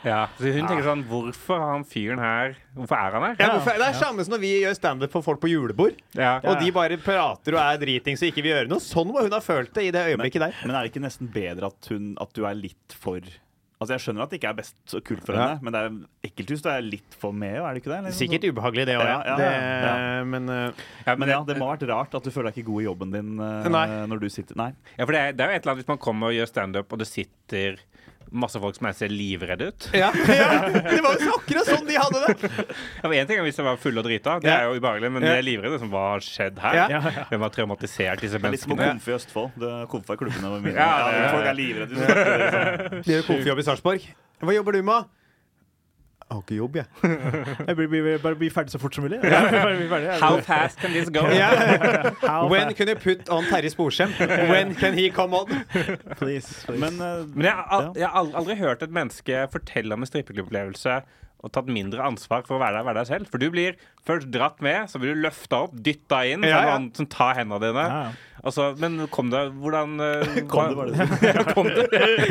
Ja. Så hun tenker sånn Hvorfor har han fyren her Hvorfor er han her? Ja, hvorfor- det er samme som når vi gjør standup for folk på julebord, Ja. og de bare prater og er dritings og ikke vil gjøre noe. Sånn må hun ha følt det i det øyeblikket der. Men er det ikke nesten bedre at, hun, at du er litt for Altså Jeg skjønner at det ikke er best og kult for Ja. henne, men det er ekkelthus du er litt for med, er det ikke det? Eller? Sikkert ubehagelig, det òg. Ja, Ja, ja, Det- Men eh, Ja, Men ja, det må ha vært rart at du føler deg ikke god i jobben din eh, Nei. når du sitter Nei. Ja, for det er, det er jo et eller annet hvis man kommer og gjør standup, og det sitter masse folk som er ser livredde ut. ja, ja, Det var jo så akkurat sånn de hadde det! Ja, men en ting er hvis jeg var full og drita, det er jo ubehagelig, men Ja. det er livredde som hva har skjedd her? Ja. Hvem har traumatisert disse Det er litt som å menneskene? komfe i Østfold. Du komfa i klubbene med mine. Ja, Ja, ja, ja. Folk er livredde. Du snakker, liksom. De gjør konfjobb i Sarpsborg. Hva jobber du med? Jeg har ikke jobb, jeg. Jeg blir, blir, blir, bare blir ferdig så fort som mulig. Ja, bare bli ferdig, ja. How fast can this go? Ja. How When fast, can you put on Terje Sporsem? When can he come on? please, please. Men, eh, Men jeg, har al- jeg har al- aldri hørt et menneske fortelle om en strippeklubbopplevelse og tatt mindre ansvar for å være der, være der selv. For du blir først dratt med, så blir du løfta opp, dytta inn, så Ja, er det ja. noen som tar hendene dine. Ja, ja. Altså, men kom deg Hvordan eh, Kom hva- det, var det ja, kom det.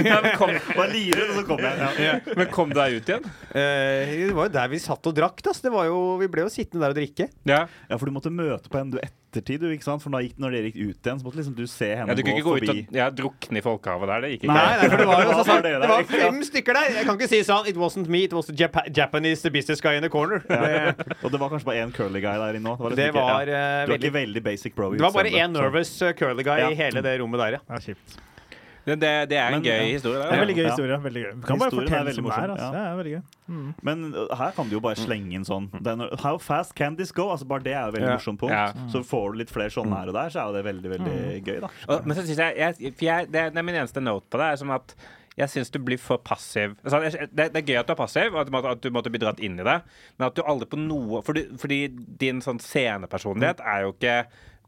Ja, men, kom, Var livredd, og så kom jeg. Ja. men kom du deg ut igjen? Eh, det var jo der vi satt og drakk. Da. så Det var jo, vi ble jo sittende der og drikke. Ja. ja, for du måtte møte på henne du ettertid, du, ikke sant? For da gikk, når dere gikk ut igjen, så måtte liksom du se ja henne du kunne gå ikke gå ut forbi. og ja, drukne i folkehavet der. Det gikk ikke. Nei, nei, for det var jo Hva sånn, var det det der? var fem stykker der. Jeg kan ikke si sånn It wasn't me, it was the Jap Japanese the business guy in the corner. Det, Og det var kanskje bare én curly guy der inne òg. Det, var liksom det ikke- ja. var Du eh, er veldig ikke veldig basic bro. i Det var bare utseendet, én nervous eh, curly guy Ja. i hele det rommet der, ja. Det er kjipt. Det, det, det er en Men, gøy ja. historie. Det er en Der, veldig gøy Ja. historie. Veldig gøy. Du kan bare Historien er fortelle veldig som det er. morsom, Altså. ja. Ja, det er veldig gøy. så. Men uh, her kan du jo bare slenge inn sånn det er når- How fast can this go? Altså Bare det er jo veldig Ja. morsomt punkt. Ja. Så får du litt flere sånne her og der, så er jo det veldig, veldig gøy, da. Og, men så synes jeg, jeg, for jeg det, er- det er min eneste note på det, er som at jeg syns du blir for passiv. Altså, jeg- det, det er gøy at du er passiv, og at du, måtte, at du måtte bli dratt inn i det, men at du aldri på noe Fordi, fordi din sånn scenepersonlighet er jo ikke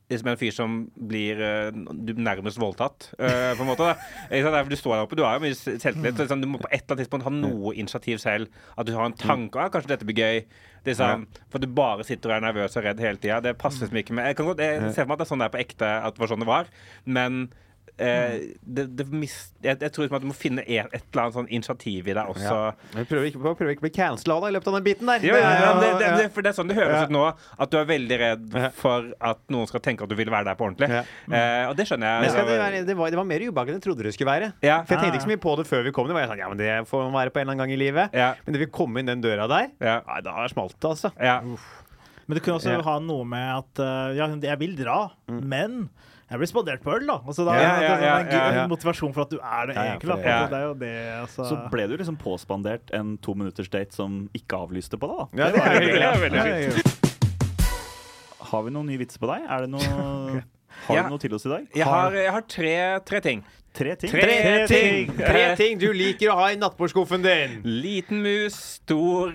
liksom en fyr som blir eh, du, nærmest voldtatt, eh, på en måte. Da. Ikke sant? Det er fordi Du står der oppe, du har jo mye selvtillit. Så liksom, du må på et eller annet tidspunkt ha Mm. noe initiativ selv. At du har en tanke ah, 'kanskje dette blir gøy'. Det er sånn, for at du bare sitter og er nervøs og redd hele tida. Det passer Mm. liksom ikke med Jeg kan godt jeg ser for meg at det er sånn det er på ekte, at det var sånn det var. Men eh, Mm. det, det mis, jeg, jeg tror liksom at du må finne et, et eller annet sånn initiativ i deg også. Jeg prøver ikke, prøver ikke å bli cancela da, i løpet av den biten der. Ja, ja, ja, det, det, Ja. det, for det er sånn det høres Ja. ut nå, at du er veldig redd Ja. for at noen skal tenke at du vil være der på ordentlig. Ja. Eh, og det skjønner Men jeg. skal det, være, det, var, det var mer ubehagelig enn jeg trodde det skulle være. Ja. For Jeg tenkte ikke så mye på det før vi kom. Det var jeg sånn, ja, men det får man være på en eller annen gang i livet. Ja. Men det vil komme inn den døra der. Ja. Nei, da smalt det, altså. Ja. Men det kunne også Ja. ha noe med at eh, ja, jeg vil dra, men jeg blir spandert på øl, da. Altså, da Ja, ja, det er ja, en gøy ja, ja. motivasjon for at du er det Ja, ja, egentlig. for Da. det- Ja. Det er jo det, altså. Så ble du liksom påspandert en to minutters date som ikke avlyste på deg, da. Ja, det er hyggelig. hyggelig. Det er veldig Ja, det er hyggelig. Har vi noen nye vitser på deg? Er det noe Har Ja. du noe til oss i dag? Jeg har, jeg har tre, tre ting. Tre ting. Tre ting. Tre ting du liker å ha i nattbordskuffen din. Liten mus, stor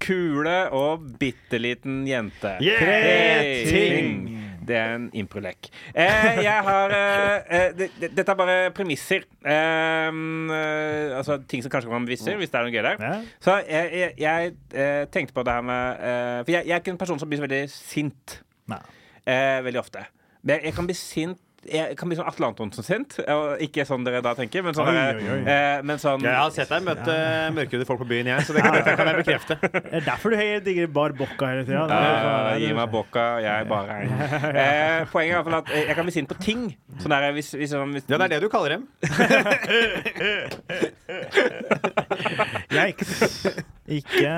kule og bitte liten jente. Yeah! Tre ting. Det er en improlek. Eh, jeg har eh, eh, det- det- Dette er bare premisser. Eh, eh, altså ting som kanskje kan være premisser, hvis det er noe gøy der. Ja. Så jeg, jeg, jeg eh, tenkte på det her med eh, For jeg, jeg er ikke en person som blir så veldig sint. Nei. Eh, veldig ofte. Men jeg kan bli sint jeg kan bli sånn Atle Antonsen sint. og Ikke sånn dere da tenker, men sånn, Oi, eh, oi, oi. eh, men sånn Jeg har sett deg møte mørkhudede folk på byen, jeg, så det kan, det kan jeg bekrefte. Det er derfor du he- digger bar bocca hele tida. sånn, Ja, eh, gi meg boka, jeg bare er eh, Poenget er i hvert fall at jeg kan bli sint på ting. Sånn der, hvis, hvis, hvis, Ja, det er det du kaller dem. Yikes. Ikke,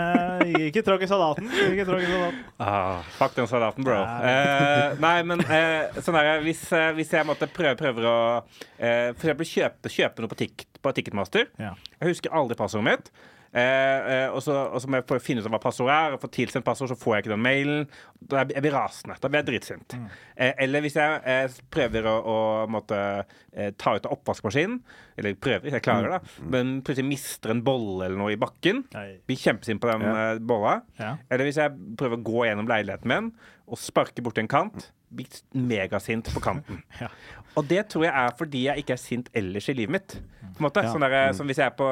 ikke tråkk i salaten. Ikke tråkk i salaten. Ah, fuck den salaten, bro. Eh, nei, men eh, sånn der, hvis, eh, hvis jeg måtte prøve, prøver å eh, For eksempel kjøpe, kjøpe noe på, Tik- på Ticketmaster Ja. Jeg husker aldri passordet mitt. Eh, eh, og, så, og så må jeg få finne ut hva passordet er, og få tilsendt passord, så får jeg ikke den mailen. Da jeg, jeg blir rasende. Da blir jeg dritsint. Mm. Eh, eller hvis jeg eh, prøver å, å måtte, eh, ta ut av oppvaskmaskinen, eller prøver, jeg klarer det, da, men plutselig mister en bolle eller noe i bakken. Mm. Nei. Blir kjempesint på den eh, bolla. Ja. Eller hvis jeg prøver å gå gjennom leiligheten min og sparke borti en kant. Blir megasint på kanten. Ja. Og det tror jeg er fordi jeg ikke er sint ellers i livet mitt. På en måte. Sånn der, Som hvis jeg er på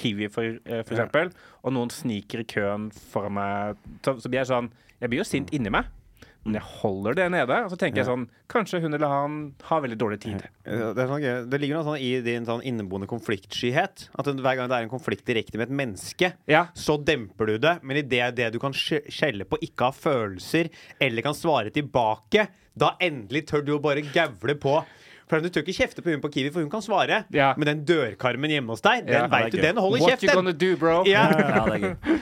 Kiwi, for, eh, for eksempel, og noen sniker i køen foran meg, så, så blir jeg sånn Jeg blir jo sint inni meg. Men jeg holder det nede, og så tenker jeg sånn Kanskje hun eller han har veldig dårlig tid. Ja, Det, er sånn, gøy. det ligger noe sånn i din sånn inneboende konfliktskyhet. At den- hver gang det er en konflikt direkte med et menneske, Ja. så demper du det. Men i det, det du kan skje- skjelle på ikke har følelser, eller kan svare tilbake, da endelig tør du å bare gavle på. For sånn, Du tør ikke kjefte på hun på Kiwi, for hun kan svare. Ja. Men den dørkarmen hjemme hos deg, den Ja, det er vet du, gøy. den holder What kjeft, you den! gonna do, bro? Ja. Ja, det er gøy.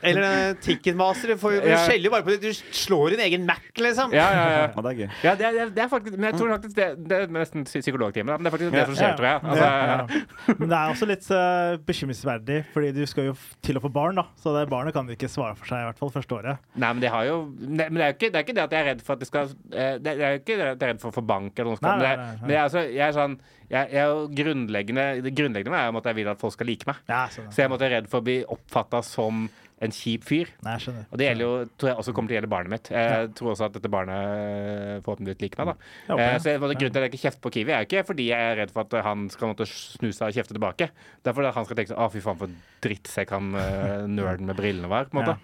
Eller den Ticketmaster. for- Du Ja. skjeller jo bare på det. Du slår din egen Mac, liksom. Ja, ja, ja. Ja, det er gøy. Ja, det er, det er- det er faktisk Men jeg tror faktisk det, det er nesten psy- psykologtime. da, Men det er faktisk det Ja. som skjer, tror jeg. Altså, Ja, ja. Men det er også litt eh, bekymringsverdig, fordi du skal jo f- til å få barn, da. Så det barnet kan ikke svare for seg, i hvert fall første året. Nei, men det har jo nei, Men det er jo ikke det, er ikke det at jeg er redd for at det skal eh, Det det er jo ikke det at jeg er redd for å få bank eller noe sånt. Nei, men det er- nei, nei, nei. Men jeg er, altså, jeg er sånn jeg, jeg er jo grunnleggende Det grunnleggende er jo at jeg vil at folk skal like meg. Ja, sånn, Så jeg måtte være redd for å bli oppfatta som en kjip fyr. Nei, jeg skjønner. Og det gjelder jo, tror jeg også kommer til å gjelde barnet mitt. Jeg tror også at dette barnet eh, forhåpentligvis liker meg, da. Jeg håper Eh, det. Så jeg, måtte- grunnen til at jeg ikke kjefter på Kiwi, er jo ikke fordi jeg er redd for at eh, han skal måtte snu seg og kjefte tilbake. Det er fordi at han skal tenke sånn Å, fy faen, for drittsekk han eh, nerden med brillene var, på en måte.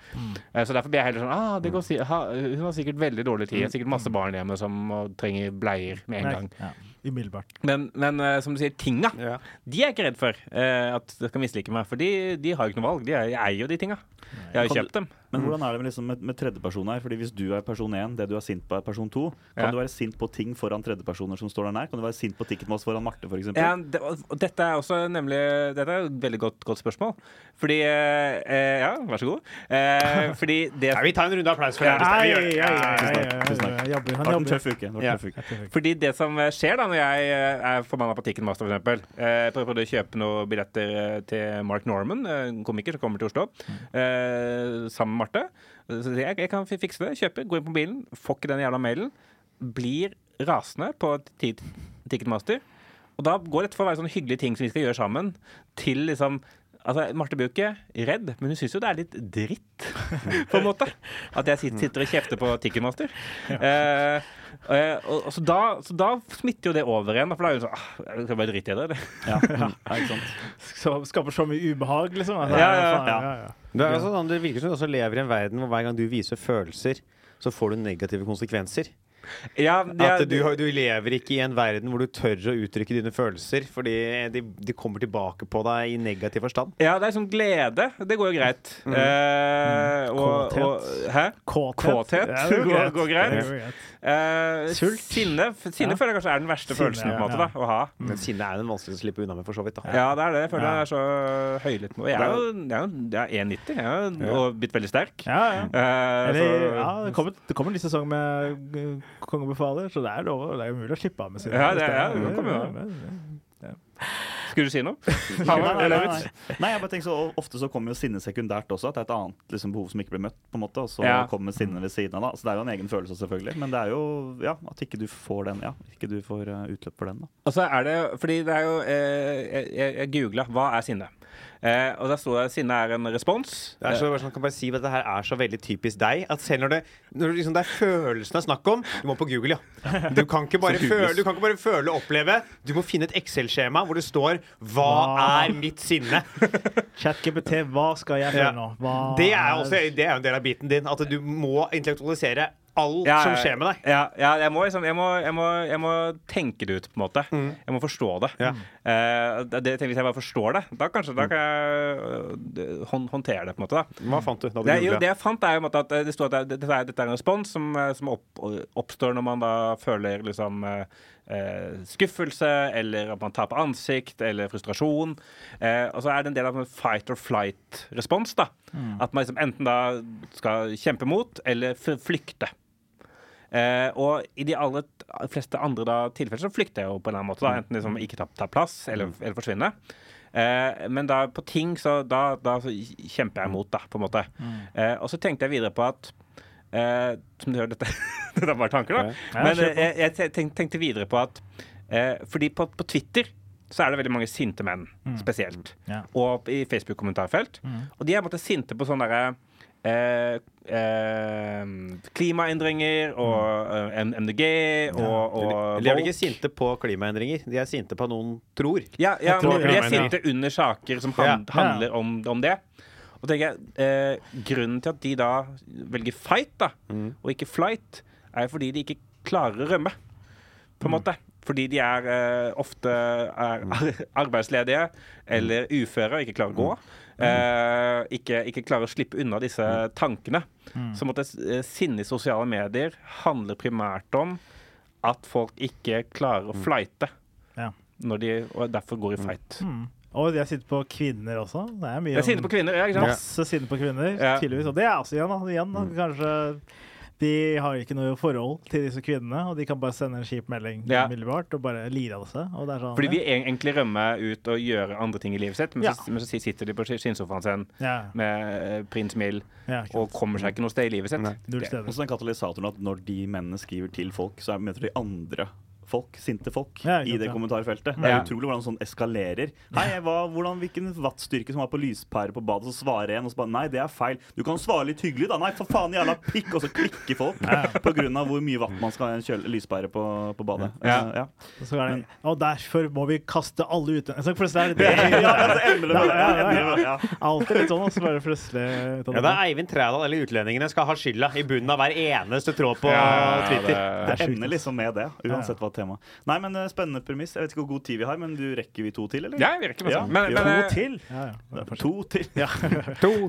Eh, Så derfor blir jeg heller sånn ah, det går si ha, Hun har sikkert veldig dårlig tid. Det er Sikkert masse barn hjemme som må- trenger bleier med en Nei, gang. Ja, umiddelbart. Men, men eh, som du sier, tinga, Ja. de er jeg ikke redd for eh, at de skal mislike meg. For de, de har jo ikke noe valg. De er, jeg eier jo de tinga. Jeg har jo Kan kjøpt dem. Men hvordan er det med, liksom, med, med tredjeperson her? Fordi Hvis du er person 1, det du er sint på, er person 2. Kan Ja. du være sint på ting foran tredjepersoner som står der nær? Kan du være sint på Ticketmaster foran Marte, f.eks.? Ja, det, og og dette er også nemlig Dette er et veldig godt, godt spørsmål. Fordi eh, eh, Ja, vær så god. Eh, fordi det Nei, vi tar en runde applaus for det. Ai, Vi ai, gjør det. ai, ai, ai, Tusen takk, tusen takk. ai, jobber, Det han har vært en jobber. tøff uke. Det har vært Ja. en tøff uke. fordi det som skjer da når jeg eh, er forbanna på Ticketmaster, f.eks. Jeg prøvde eh, å kjøpe noen billetter eh, til Mark Norman, eh, en komiker som kommer til Oslo, eh, sammen med Marte. Så sier jeg, jeg kan fi- fikse det. Kjøpe, gå inn på bilen, får ikke den jævla mailen. Blir rasende på ti- Ticketmaster. Og da går dette for å være sånne hyggelige ting som vi skal gjøre sammen, til liksom Altså, Marte blir jo ikke redd, men hun syns jo det er litt dritt, på en måte. At jeg sit- sitter og kjefter på Ticketmaster. Eh, eh, og, og så, da, så da smitter jo det over igjen, da, for da er hun sånn ah, Jeg skal bare drite i det. eller?» Ja. Ja, ikke sant? Så- Skaper så mye ubehag, liksom. Altså, Ja, ja, faen, ja. Det, er altså sånn, det virker som du også lever i en verden hvor hver gang du viser følelser, så får du negative konsekvenser. Ja, ja, At du, har- du lever ikke i en verden hvor du tør å uttrykke dine følelser, fordi de, de kommer tilbake på deg i negativ forstand. ja, det er liksom glede. Det går jo greit. Mm. Eh, og, og Hæ? Kåthet. Ja, det Går- går greit. Det går greit. Eh, Sult. Sinne, sinne Ja. føler jeg kanskje er den verste Sinne, følelsen på en ja. måte da, å ha. Men sinne er den vanskeligste å slippe unna med, for så vidt. da Mm. Ja, det er det. Jeg føler Ja. jeg er så høylytt. Og jeg er jo jeg er jo- jeg er 1,90 jeg er, jo- og blitt veldig sterk. Ja, ja. Eh, Eller, så, ja, det, kommer, det kommer en ny sesong med eh, Konge befaler, så det er, lov, det er jo mulig å slippe av med sine. Ja, det er- ja, det kommer jo skulle du si noe? Ha Nei, meg, nei, eller nei, ut. nei. nei, jeg bare tenker så Ofte så kommer jo sinne sekundært også, at det er et annet liksom, behov som ikke blir møtt. på en måte Og så Ja. kommer sinne ved siden av. Da. Så det er jo en egen følelse, selvfølgelig. Men det er jo ja, at ikke du får den Ja, ikke du får eh, utløp for den. da Og så er det Fordi det er jo eh, Jeg, jeg- jeg googla 'hva er sinne?' Eh, og der sto det 'sinne er en respons'. Det er så, bare sånn, kan bare si at det her er så veldig typisk deg. At selv når det, når det liksom, det er følelsen det er snakk om, du må på Google, ja. Du kan ikke bare, Så føle, googles. du kan ikke bare føle og oppleve. Du må finne et Excel-skjema hvor det står 'Hva Hva? er mitt sinne?' ChatGPT, hva skal jeg føle Ja. nå? Hva Det er, også, det er jo en del av biten din. At du må intellektualisere alt Ja, ja, som skjer med deg. Ja, ja jeg, må, liksom, jeg, må, jeg, må, jeg må tenke det ut, på en måte. Jeg må forstå det. Ja. Eh, det det- tenk hvis jeg bare forstår det, da kanskje da kan jeg øh, hånd, håndtere det, på en måte. da Hva fant du? Da du det, er- jo, googlet? det jeg fant, er jo på en måte at eh, det sto at det- dette er, dette er en respons som, eh, som opp, oppstår når man da føler liksom eh, eh, skuffelse, eller at man taper ansikt, eller frustrasjon. Eh, og så er det en del av en fight or flight-respons. da Mm. At man liksom enten da skal kjempe mot, eller f- flykte. Eh, og i de aller t- fleste andre da, tilfeller så flykter jeg jo på en eller annen måte. Mm. Da. Enten liksom ikke ta, ta plass, eller, eller forsvinne. Eh, men da på ting så da, da så kjemper jeg imot, da, på en måte. Mm. Eh, og så tenkte jeg videre på at eh, Som du hører, dette, dette er bare tanker, da. Ja, Men kjør eh, på. jeg, jeg te- tenk- tenkte videre på at eh, Fordi på, på Twitter så er det veldig mange sinte menn, spesielt. Mm. Ja. Mm. Og i Facebook-kommentarfelt. Og de er på en måte sinte på sånn derre Eh, eh, klimaendringer og Mm. eh, M- MDG og, og De er vel ikke sinte på klimaendringer, de er sinte på at noen tror. ja, ja, Jeg tror men de det er mener jeg. sinte under saker som han, Ja. handler om, om det. Og tenker jeg, eh, Grunnen til at de da velger fight da, Mm. og ikke flight, er fordi de ikke klarer å rømme. På en Mm. måte. Fordi de er eh, ofte er Mm. arbeidsledige eller uføre og ikke klarer å gå. Mm. Eh, ikke, ikke klarer å slippe unna disse tankene. Mm. Så måtte eh, sinne i sosiale medier handler primært om at folk ikke klarer Mm. å flighte Ja. når de og derfor går i fight. Og jeg sitter på kvinner også. Det er mye Jeg er sinne på kvinner, ja, ikke sant? Masse sinne på kvinner, Ja. Mm. tydeligvis. Og det er også igjen, da. igjen da. kanskje de har ikke noe forhold til disse kvinnene, og de kan bare sende en kjip melding Ja. umiddelbart og bare lire av seg. Og det er sånn, Fordi de e- egentlig rømmer ut og gjør andre ting i livet sitt, men, så, Ja. men så si- sitter de på sk- skinnsofaen sin ja, med eh, prins Mill ja, ikke og sant. kommer seg ikke noe sted i livet sitt. Nei. Null Det- steder. Også den katalysatoren at når de mennene skriver til folk, så er- møter de andre folk, sinte folk, Ja, ikke i sant, det ja. kommentarfeltet. Det Ja. er utrolig hvordan sånn eskalerer. Hei, hva, hvordan, hvilken wattstyrke som var på lyspære på badet, så svarer en, og så bare Nei, det er feil. Du kan svare litt hyggelig, da. Nei, for faen, jævla pikk. Og så klikker folk på grunn av hvor mye watt man skal ha i en kjøle, lyspære på, på badet. Ja. Eh, ja. Og så er det, og derfor må vi kaste alle ut. Så plutselig er Ja, det det. ja, så ender det med det. Ja, ja, ja. Ender det med det, ja. Alltid litt sånn, og så bare plutselig ut av Ja, det er Eivind Trædal eller utlendingene skal ha skylda i bunnen av hver eneste tråd på Twitter. Ja, det- Det sjukt, ender ass. liksom med det, uansett hva tema. Nei, men eh, Spennende premiss. Jeg vet ikke hvor god tid vi har, men du rekker vi to til, eller? Ja, jeg virker masse. Ja. Men, Ja. men, eh, til. Ja, ja. Det er To til.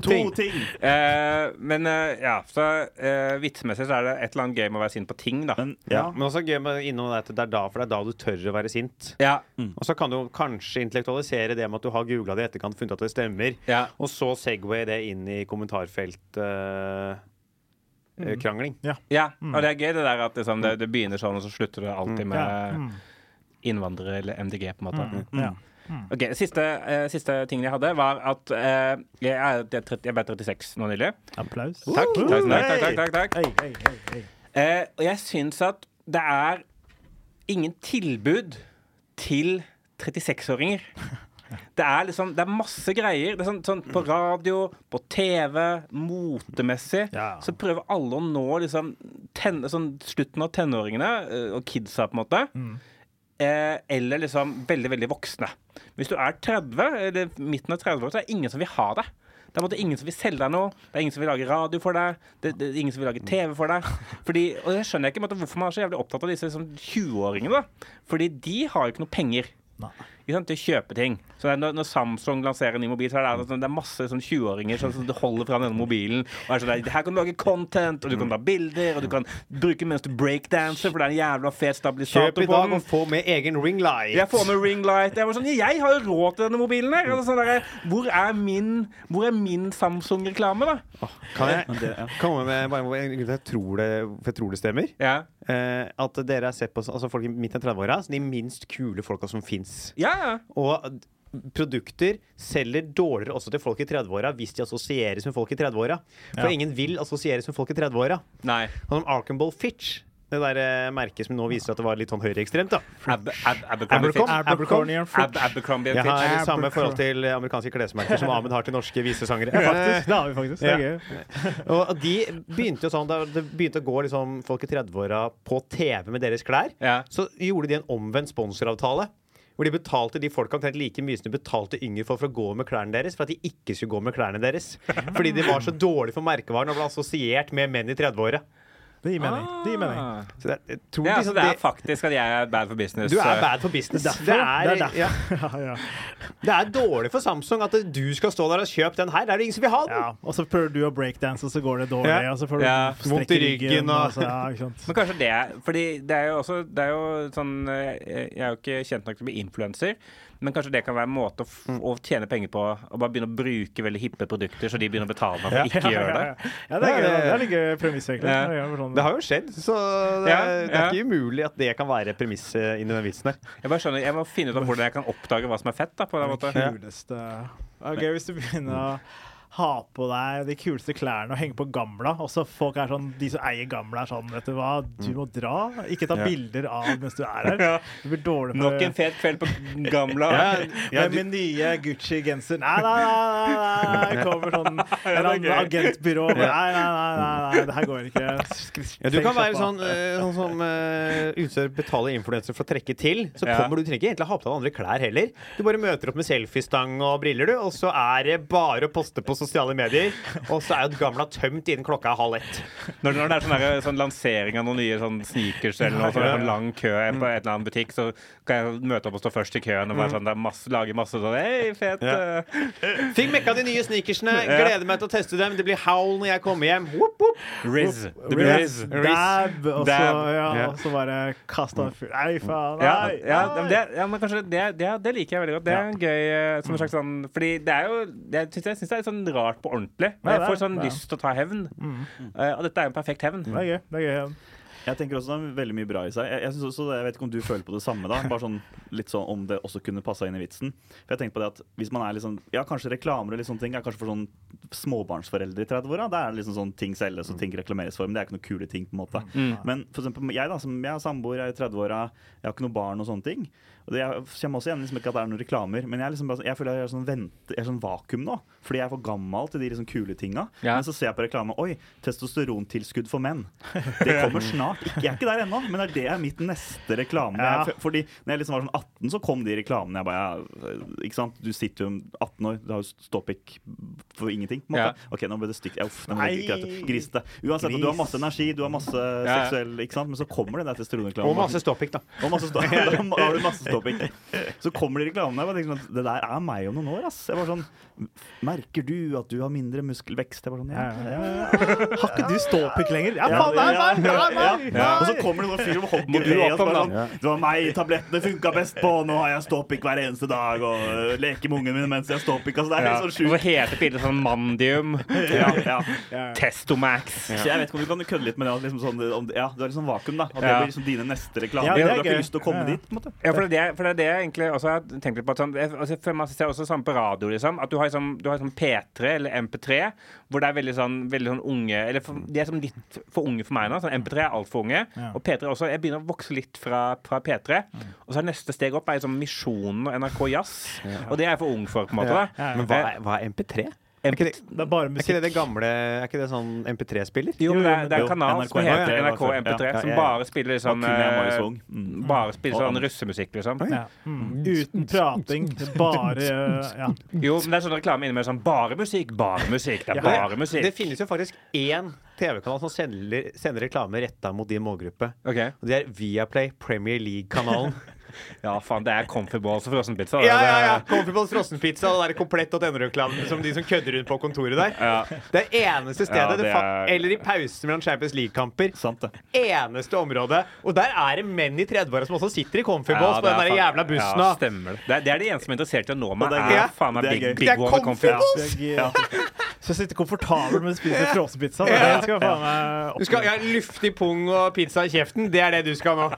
To To ting! eh, men eh, ja, så eh, vitsemessig så er det et eller annet gøy med å være sint på ting, da. Men Ja, ja, men også gøy med innom det at det er da, for det er da du tør å være sint. Ja, Og så kan du jo kanskje intellektualisere det med at du har googla det i etterkant, funnet at det stemmer, ja. og så segway det inn i kommentarfeltkrangling. Mm. krangling ja. Og det er gøy det der at liksom, det, det begynner sånn, og så slutter det alltid Ja. med Mm. Mm. innvandrere eller MDG, på en måte. Ja. Mm. Ok, Siste, eh, siste tingen jeg hadde, var at eh, jeg, er, jeg, er trett- jeg ble 36 nå nylig. Applaus. Takk. Uh, Takk, takk, hei. takk, takk, takk. Hei, hei, hei, hei. Eh, og jeg syns at det er ingen tilbud til 36-åringer. Det er liksom, det er masse greier. Det er sånn, sånn På radio, på TV, motemessig. Ja. Så prøver alle å nå liksom ten, sånn, slutten av tenåringene eh, og kidsa, på en måte. Eh, eller liksom veldig, veldig voksne. Hvis du er 30, eller midten av 30 år, så er det ingen som vil ha deg. Det er på en måte ingen som vil selge deg noe, det er ingen som vil lage radio for deg, det, det er ingen som vil lage TV for deg. Fordi, og jeg skjønner ikke på en måte, hvorfor man er så jævlig opptatt av disse liksom, 20-åringene. da. Fordi de har jo ikke noe penger Nei. ikke sant, til å kjøpe ting. Så det er når, når Samsung lanserer en ny mobil, så er det, sånn- det er masse sånn 20-åringer som som holder fra denne mobilen. Og er sånn der, Her kan du lage content, og du kan ta bilder, og du kan bruke den mens du breakdanser, for det er en jævla fet stabilisator Kjøp på i dag den. og få med egen ring light. Jeg får med ring light. Jeg, var sånn, jeg har jo råd til denne mobilen her! Altså, sånn der, hvor er min, hvor er min Samsung-reklame, da? Kan jeg men det, ja. komme med bare, en grunn til at jeg tror det, for jeg tror det stemmer? Ja. Eh, at dere er sett på som- altså folk i midten av 30-åra som de minst kule folka som fins. ja, ja. Og d- produkter selger dårligere også til folk i 30-åra hvis de assosieres med folk i 30-åra. For Ja. ingen vil assosieres med folk i 30-åra. Nei. Sånn som Arkenball Fitch. Det der eh, merket som nå viser at det var litt sånn høyreekstremt. da. Ab Ab Abercrombie Abercom- Fitch. Abercorny and Fritch. Ab Abercrombie Jeg har Fitch. det samme forhold til eh, amerikanske klesmerker som Ahmed har til norske visesangere. Ja, faktisk. Det har vi faktisk. Det er Ja. gøy. Eh, Og de begynte jo sånn, da Det begynte å gå liksom folk i 30-åra på TV med deres klær. Ja. Så gjorde de en omvendt sponsoravtale. Hvor de betalte de folk omtrent like mye som de betalte yngre for, for å gå med klærne deres. For at de ikke skulle gå med klærne deres. Fordi de var så dårlige for merkevaren og ble assosiert med menn i 30-åra. Det gir mening. Det gir mening. Ah. Så det, jeg tror Ja, altså, liksom det er det- faktisk at jeg er bad for business. du er eh, bad for business. Derfor. Det er derfor. Ah. ja. Ja, ja. Det er dårlig for Samsung at du skal stå der og kjøpe den her. Det er det ingen som vil ha den! ja. Og så prøver du å breakdance, og så går det dårlig. Ja. Og så får du Ja. strekk Vondt i ryggen, og- så, ja, ikke sant. Men kanskje det er Fordi det er jo også Det er jo sånn eh, Jeg er jo ikke kjent nok til å bli influenser, men kanskje det kan være en måte å, f å tjene penger på. Å bare begynne å bruke veldig hippe produkter, så de begynner å betale meg for å ikke Ja, gjøre ja, det. ja. Ja, det er, gøy, det er litt gøy premiss, egentlig. Ja. Det er gøy for sånn- Det har jo skjedd, så det er, Ja, det er ja. ikke umulig at det kan være premisset inni den vitsen der. Jeg bare skjønner Jeg må finne ut av hvordan jeg kan oppdage hva som er fett. da På den måten Det kuleste Det er gøy hvis du begynner å ha på deg de kuleste klærne og henge på gamla. Og så folk er sånn, De som eier gamla, er sånn Vet du hva, du må dra. Ikke ta Ja. bilder av mens du er der. Mm. Ja. Det blir dårlig Nok en for fet kveld på Gamla. med min nye Gucci-genser Nei, nei, nei! nei, nei. Kommer sånn en eller annen agentbyrå og bare, Nei, nei, nei, nei, nei, det her går ikke. Sk- Ja, du kan være slapp sånn, av. eh, sånn som uh, utsteder betaler influenser for å trekke til. Så Ja. kommer du, du trenger ikke egentlig ha på deg andre klær heller. Du bare møter opp med selfiestang og briller, du. Og så er det bare å poste på sosiale medier. Og så er jo gamla tømt innen klokka er halv ett. Når, når det er sånn, der, sånn lansering av noen nye sånn sneakers eller noe, sånn, sånn lang kø på en eller annen butikk, så kan jeg møte opp og stå først i køen og bare sånn, det er masse, lage masse sånn Hei, fet Ja. eh, Fikk mekka de nye sneakersene. Gleder meg til å teste dem. Det blir howl når jeg kommer hjem. Whoop, whoop. Riz. Det blir Riz, Riz. dab, og så, Dab. ja, Ja. og så bare kaste av fyr. Nei, faen. Ja, Nei, ja, nei. men det, ja, men kanskje det, det, det liker jeg veldig godt. Det er en gøy eh, som en slags sånn Fordi det er jo Jeg syns, jeg synes det er litt sånn rart på ordentlig. Men Ja, jeg det får er- sånn det er. Mm. lyst til å ta hevn. Eh, og dette er jo en perfekt hevn. Det er gøy. det er gøy. Jeg tenker også det er veldig mye bra i seg. Jeg, jeg, synes også, jeg vet ikke om du føler på det samme, da. Bare sånn, litt sånn om det også kunne passa inn i vitsen. For jeg tenker på det at hvis man er litt sånn, ja, kanskje reklamer og litt sånne ting er kanskje for sånn småbarnsforeldre i 30-åra. Da er det liksom sånn ting selges og ting reklameres for, men det er ikke noe kule ting, på en måte. Men for eksempel jeg, da, som jeg er samboer, jeg er i 30-åra, jeg har ikke noe barn og sånne ting. Og det, jeg kommer også igjen liksom ikke at det er noen reklamer, men jeg, er liksom, bare sånn- jeg føler jeg er sånn, vente, jeg er sånn vakuum nå. Fordi jeg er for gammel til de liksom kule tinga. Ja. Men så ser jeg på reklame Oi, testosterontilskudd for menn. Det kommer snart. Ikke- Jeg er ikke der ennå, men det er det er mitt neste reklame. Ja. Jeg, fordi når jeg liksom var sånn 18, så kom de reklamene. Jeg bare, ja, ikke sant? Du sitter jo 18 år, du har jo ståpikk for ingenting. På en måte. OK, nå ble det stygt. Uff, nå ble det ikke greit. Grisete. Uansett, og du har masse energi, du har masse ja. seksuell ikke sant? Men så kommer det der testosteronreklamen. Og masse ståpikk, da. Og masse stå- da har du masse stopping. Så kommer de reklamene. og Jeg bare tenker sånn, det der er meg om noen år. ass. Jeg var sånn, Merker du at du har mindre muskelvekst? Jeg var sånn, ja, ja, ja, ja. Har ikke du ståpikk lenger? Ja, Ja, faen, det er ja, meg! Det er ja. meg! Ja. Og så kommer det noen fyr som Må hogger du ved opp og så om bare da? sånn, Det var meg tablettene funka best på, nå har jeg ståpikk hver eneste dag og øh, leker med ungen min mens jeg har ståpikk. Altså, det er Ja. Og helt sånn så sjukt. heter bildet sånn Mandium. Ja, ja. Testomax. Så jeg vet ikke om du kan kødde litt med det. at Liksom sånn, om, det- ja, du er litt sånn vakuum, da. At det Ja. blir liksom dine neste Ja, reklamer. det er du har gøy. ikke lyst til å komme Ja, ja. dit. på en måte. Ja, for det, er det- for det er det jeg egentlig også har tenkt litt på. At sånn, jeg, altså, for man ser også sånn på radio, liksom, at du har, liksom, du har sånn P3 eller MP3, hvor det er veldig sånn, veldig sånn unge Eller for, de er sånn litt for unge for meg nå. Sånn MP3 er altfor unge. Ja. Og P3 også. Jeg begynner å vokse litt fra, fra P3. Og så er neste steg opp er liksom Misjonen og NRK Jazz. Og det er jeg for ung for, på en måte. Da. Ja, ja. Men hva er, hva er MP3? Er ikke det, Det er er bare ikke musikk. det det gamle Er ikke det sånn MP3-spiller? Jo, men det er, det er Jo, en kanal NRK, som heter ja, ja, NRK ja, MP3, ja, ja, som ja. bare spiller liksom Da kunne jeg Marius eh, Wong. Mm. Bare spiller Og sånn Anders. russemusikk, liksom. Ja. Mm. Uten prating. Bare ja. Jo, men det er sånn reklame innimellom sånn Bare musikk, bare musikk, det er Ja. bare musikk. Det finnes jo faktisk én TV-kanal som sender, sender reklame retta mot din målgruppe. Ok. Og det er Viaplay Premier League-kanalen. Ja, faen, det er comfy balls og frossenpizza. ja, ja, ja! Comfortables frossenpizza og den der komplett.no-reklamen som de som kødder rundt på kontoret der. Det er eneste stedet, Ja, det det fa- er- eller i pausen mellom Champions League-kamper. Sant, det. Eneste området. Og der er det menn i 30-åra som også sitter i comfortables på den der jævla bussen. Ja, da. stemmer det. Det er, det er de eneste som er interessert i å nå meg. det er Er, gøy. faen meg Det er big, gøy. big Det er one with comfy comfy. balls! Det er gøy. Så sitte komfortabel med å spise frossenpizza. Det skal jeg faen meg Du skal ha luftig pung og pizza i kjeften. Det er det du skal nå.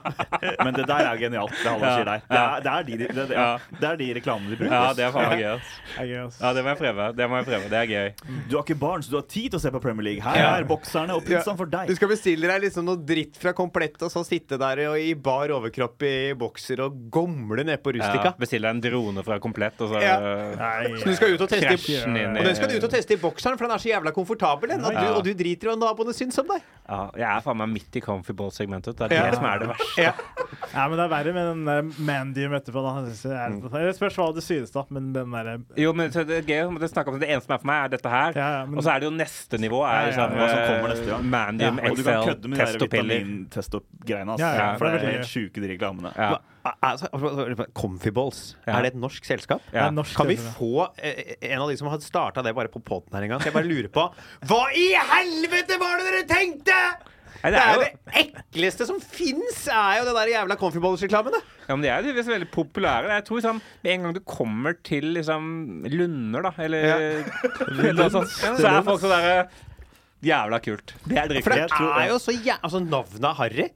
Men det der er genialt, det Halvor Ja. sier der. Det er, det er, de, det, det, Ja. det er de reklamene de bruker. Ja, det er faen meg gøy. ass. Det er gøy, ass. Ja, det må jeg prøve. Det må jeg prøve. Det er gøy. Du har ikke barn, så du har tid til å se på Premier League. Her Ja. er bokserne og pizzaen for deg. Du skal bestille deg liksom noe dritt fra Komplett, og så sitte der og i bar overkropp i bokser og gomle ned på Ja, Rustica. Bestille deg en drone fra Komplett, og så Ja. Nei, Så du skal ut og teste i, krasje den inn og den skal du ut og teste i bokseren, for den er så jævla komfortabel, den. At du, Ja. og du driter i hva naboene syns om deg. Ja, jeg er faen meg midt i comfyball-segmentet. Det er det Ja. som er det verste. Ja. Ja, men det er verre med den der Mandium etterpå. Da. Jeg synes det Mm. er- Eller spørs hva du synes, da. Men den derre Jo, men så det er gøy, men det, snakker om, det eneste som er for meg, er dette her. Ja, ja, men- Og så er det jo neste nivå. Ja, ja, Er, liksom, hva som kommer neste, ja. eh, Mandium, Og du kan Excel, kødde med de der testopiller. vitamintest-greiene. Ja, ja, for det det er er helt sjuke, de reklamene. Ja. Men, altså, altså, Comfyballs, Ja. er det et norsk selskap? Ja. det er norsk Kan vi TV. få eh, en av de som har starta det bare på poden her en gang? Jeg bare lurer på Hva i helvete var det dere tenkte?! Nei, Det er jo det ekleste som fins, er jo det der jævla Comfyballs-reklamen. det. Ja, men De er jo tydeligvis veldig populære. Jeg tror liksom, Med en gang du kommer til liksom, Lunder, da, eller Ja. eller noe sånt, så er folk sånn derre Jævla kult. Det er For det dritkult. er jo så jævla Altså, navnet er harry.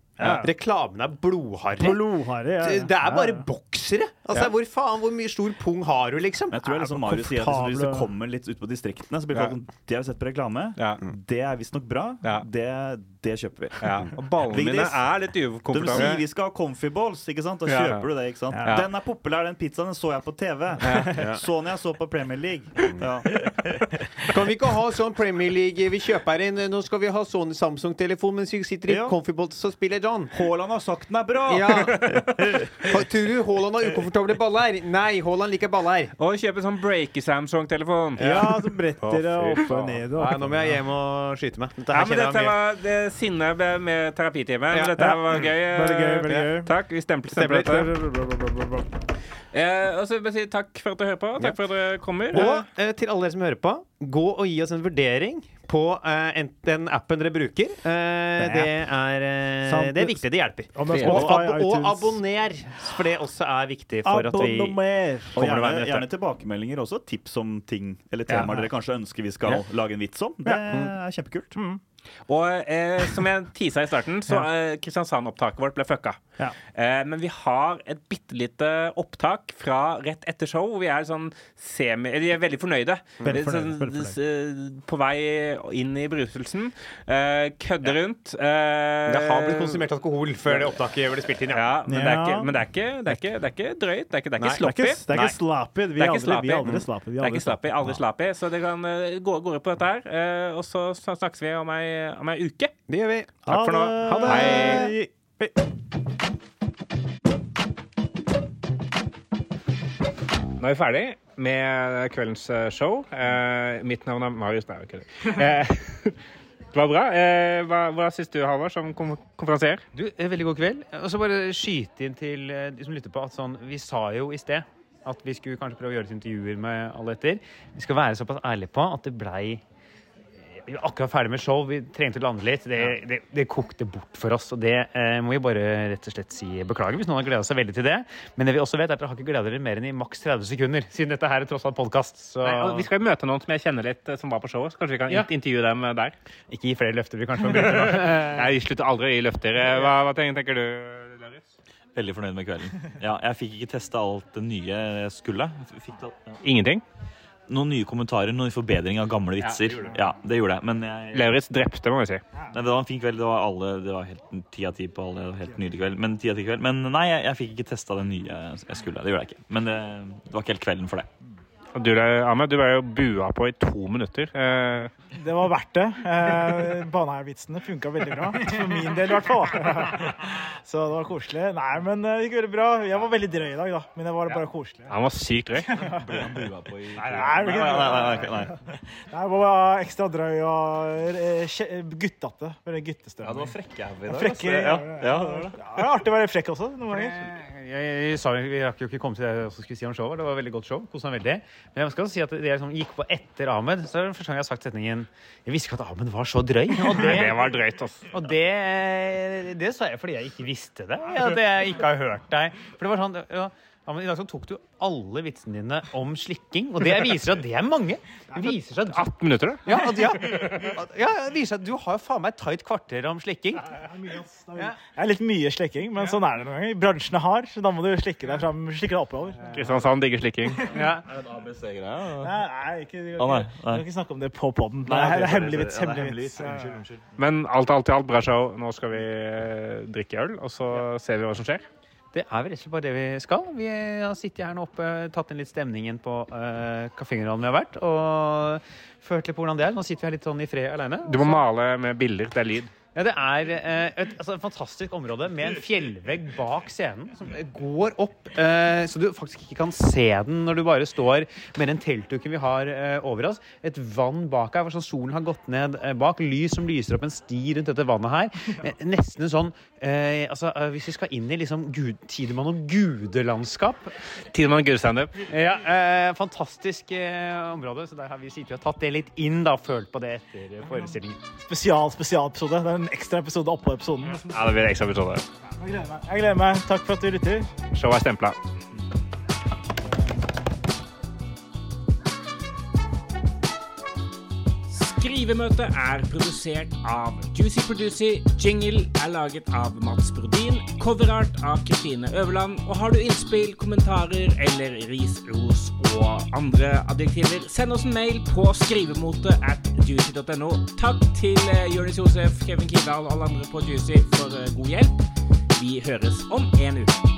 Reklamen er blodharry. Blodharry. Ja, ja. Det det er Ja, bare ja. boksere. Altså, Hvor faen, hvor mye stor pung har du, liksom? Men jeg tror det er liksom Marius sier at hvis- Hvis det kommer litt ut på distriktene, så blir Ja. folk sånn Det har vi sett på reklame. Ja. Det er visstnok bra. Ja. Det, det kjøper vi. Ja. Og ballene mine Vigdis, er litt De sier vi ukomfortable. skal ha comfy balls, ikke sant? Da Ja. kjøper du det, ikke sant? Ja. Den er populær, den pizzaen. Den så jeg på TV. Så den jeg så på Premier League. Mm. Ja. Kan vi ikke ha sånn Premier League vi kjøper inn? Nå skal vi ha sånn Samsung-telefon mens vi sitter i Ja. Comfybots og spiller John. Haaland har sagt den er bra! Ja. Tror du Haaland har ukomfortable baller? Nei, Haaland liker baller. Og kjøpe sånn breaky-Samsung-telefon. Ja, så bretter det Å, fy opp og faen. ned. Nei, Og. nå må jeg hjem og skyte meg. Dette Ja, her men dette kjenner jeg mye. var det sinne med- med terapitime. Men Ja. Dette her var gøy. eh, Veldig gøy, veldig gøy. Takk. Vi stempler, stempler dette. Takk. Eh, og så vil jeg si takk for at du hører på. Takk for at dere kommer. Og eh, til alle dere som hører på, gå og gi oss en vurdering på eh, ent- den appen dere bruker. Eh, det, er, eh, Sant. det er viktig. Det hjelper. Om det er Og, Spotify, ab og iTunes. abonner, for det også er viktig Ah, for at vi Abonnomer. Og Kommer det gjerne, veien etter? gjerne tilbakemeldinger også. Tips om ting eller temaer dere kanskje ønsker vi skal lage en vits om. Det Mm. er kjempekult. Og eh, som jeg tisa i starten, så eh, Kristiansand-opptaket vårt ble fucka. Ja. Eh, men vi har et bitte lite opptak fra rett etter show. hvor Vi er sånn semi... Eller vi er veldig fornøyde. Mm. Veldig Det er fornøyde, veldig s- eh, På vei inn i bruselsen. Eh, kødde rundt. Eh, Det har blitt konsumert alkohol før det opptaket ble spilt inn. Ja. Ja, men, Det er ikke, Ja. men det er ikke, det er ikke, det er ikke drøyt. Det er ikke, det er ikke Nei, det Det er sloppy. ikke, det er Nei. ikke slappy. Vi Det er er ikke aldri, vi er slappy. aldri slappy. Vi Det er ikke slappy, aldri slappy, så det kan eh, gå, gå på dette her. Eh, og så sn- snakkes vi om ei, om ei uke. Det gjør vi. Takk for nå. Ha det. Hei. Hei. Nå er vi ferdig med kveldens eh, show. Eh, mitt navn er Marius. Nei, jeg kødder. Eh, det var bra. Eh, hva, hva syns du, Halvard, som kom konferansier? Du, eh, Veldig god kveld. Og så bare skyte inn til eh, de som lytter på, at sånn Vi sa jo i sted at vi skulle kanskje prøve å gjøre litt intervjuer med alle etter. Vi skal være såpass ærlige på at det blei Vi var akkurat ferdig med show, vi trengte å lande litt. Det, det, det kokte bort for oss, og det eh, må vi bare rett og slett si beklager hvis noen har gleda seg veldig til det. Men det vi også vet, er at dere har ikke gleda dere mer enn i maks 30 sekunder, siden dette her er tross alt podkast. Så Nei, og vi skal jo møte noen som jeg kjenner litt, eh, som var på showet. Så kanskje vi kan Ja. int- intervjue dem eh, der. ikke gi flere løfter vi kanskje må bryte nå. Nei, vi slutter aldri å gi løfter. Eh, Hva, hva tenker, tenker du, Larius? Veldig fornøyd med kvelden. Ja, jeg fikk ikke testa alt det nye jeg skulle. F- Fikk da- ja. Ingenting. Noen nye kommentarer, noen forbedring av gamle vitser. Ja, det gjorde jeg. Men jeg, Lauritz drepte, må vi si. nei, det var en fin kveld. Det var, alle, det var helt en ti av ti på alle. det var Helt nydelig kveld. Men ti av ti kveld. Men nei, jeg, jeg fikk ikke testa det nye jeg skulle. Det gjorde jeg ikke. Men det, det var ikke helt kvelden for det. Og du, da, Ahmed, du var jo bua på i to minutter. Eh, Det var verdt det. Eh, Baneheia-vitsene funka veldig bra. For min del, i hvert fall. Så det var koselig. Nei, men eh, det gikk veldig bra. Jeg var veldig drøy i dag, da. Men det var bare koselig. han var sykt drøy. Nei, det var Nei, nei, ikke- nei, nei, nei. Nei, jeg var ekstra drøy og eh, kje- guttete. Veldig guttestemme. Ja, det var frekke i dag. Frekke, ja, ja, ja, det var det. Ja, det er artig å være frekk også, noen ganger. Jeg, jeg, jeg sa, vi rakk jo ikke komme til det jeg også skulle si om showet. Det var et veldig godt show. Koset meg veldig. Men jeg skal også si at det jeg liksom gikk på etter Ahmed, så er det første gang jeg har sagt setningen Jeg visste ikke at Ahmed var så drøy. Og det, Det var drøyt, altså. og det, det sa jeg fordi jeg ikke visste det. At jeg ikke har hørt deg. For det var sånn ja, Ahmed, I dag så tok du alle vitsene dine om slikking, og det viser at det er mange. Det viser seg at 18 minutter, da. ja, at, ja, at, ja, det viser seg at du har jo faen meg et tight kvarter om slikking. Det er litt mye slekking, men sånn er det noen ganger. Bransjen er hard, så da må du slikke deg fram, slikke deg oppover. Kristiansand digger slikking. Ja. ABC-greie. Nei, nei, ikke, vi Å, kan nei, ikke, vi nei. kan ikke snakke om det på poden. Det er det er hemmelig vits. Hemmelig vits. Unnskyld, unnskyld. Mm, Men alt alt i alt bra show. Nå skal vi eh, drikke øl, og så ser vi hva som skjer. Det er vel rett og slett bare det vi skal. Vi har sittet her nå oppe, tatt inn litt stemningen på uh, kaffegralen vi har vært, og følt litt på hvordan det er. Nå sitter vi her litt sånn i fred aleine. Du må male med bilder. Det er lyd. Ja, det er eh, et altså, et fantastisk område med en fjellvegg bak scenen som går opp, eh, så du faktisk ikke kan se den når du bare står med den teltduken vi har eh, over oss. Et vann bak her, hvor sånn solen har gått ned eh, bak. Lys som lyser opp en sti rundt dette vannet her. Eh, nesten en sånn eh, altså, eh, Hvis vi skal inn i liksom gud, Tidemann og gudelandskap, Tidemann Gudstandup. ja, eh, fantastisk eh, område. Så der har vi sittet og tatt det litt inn, da, følt på det etter eh, forestillingen. Spesial, spesialepisode. Det er en ekstra episode oppå episoden. Ja, det blir ekstra episode. Jeg gleder meg. Jeg gleder meg. Takk for at du lytter. Showet er stempla. Skrivemøtet er produsert av Juicy Producy. Jingle er laget av Mats Brodin. Coverart av Kristine Øverland. Og har du innspill, kommentarer eller ris, ros og andre adjektiver, send oss en mail på skrivemote at juicy.no. Takk til eh, Jonis Josef, Kevin Kidal og alle andre på Juicy for eh, god hjelp. Vi høres om en uke.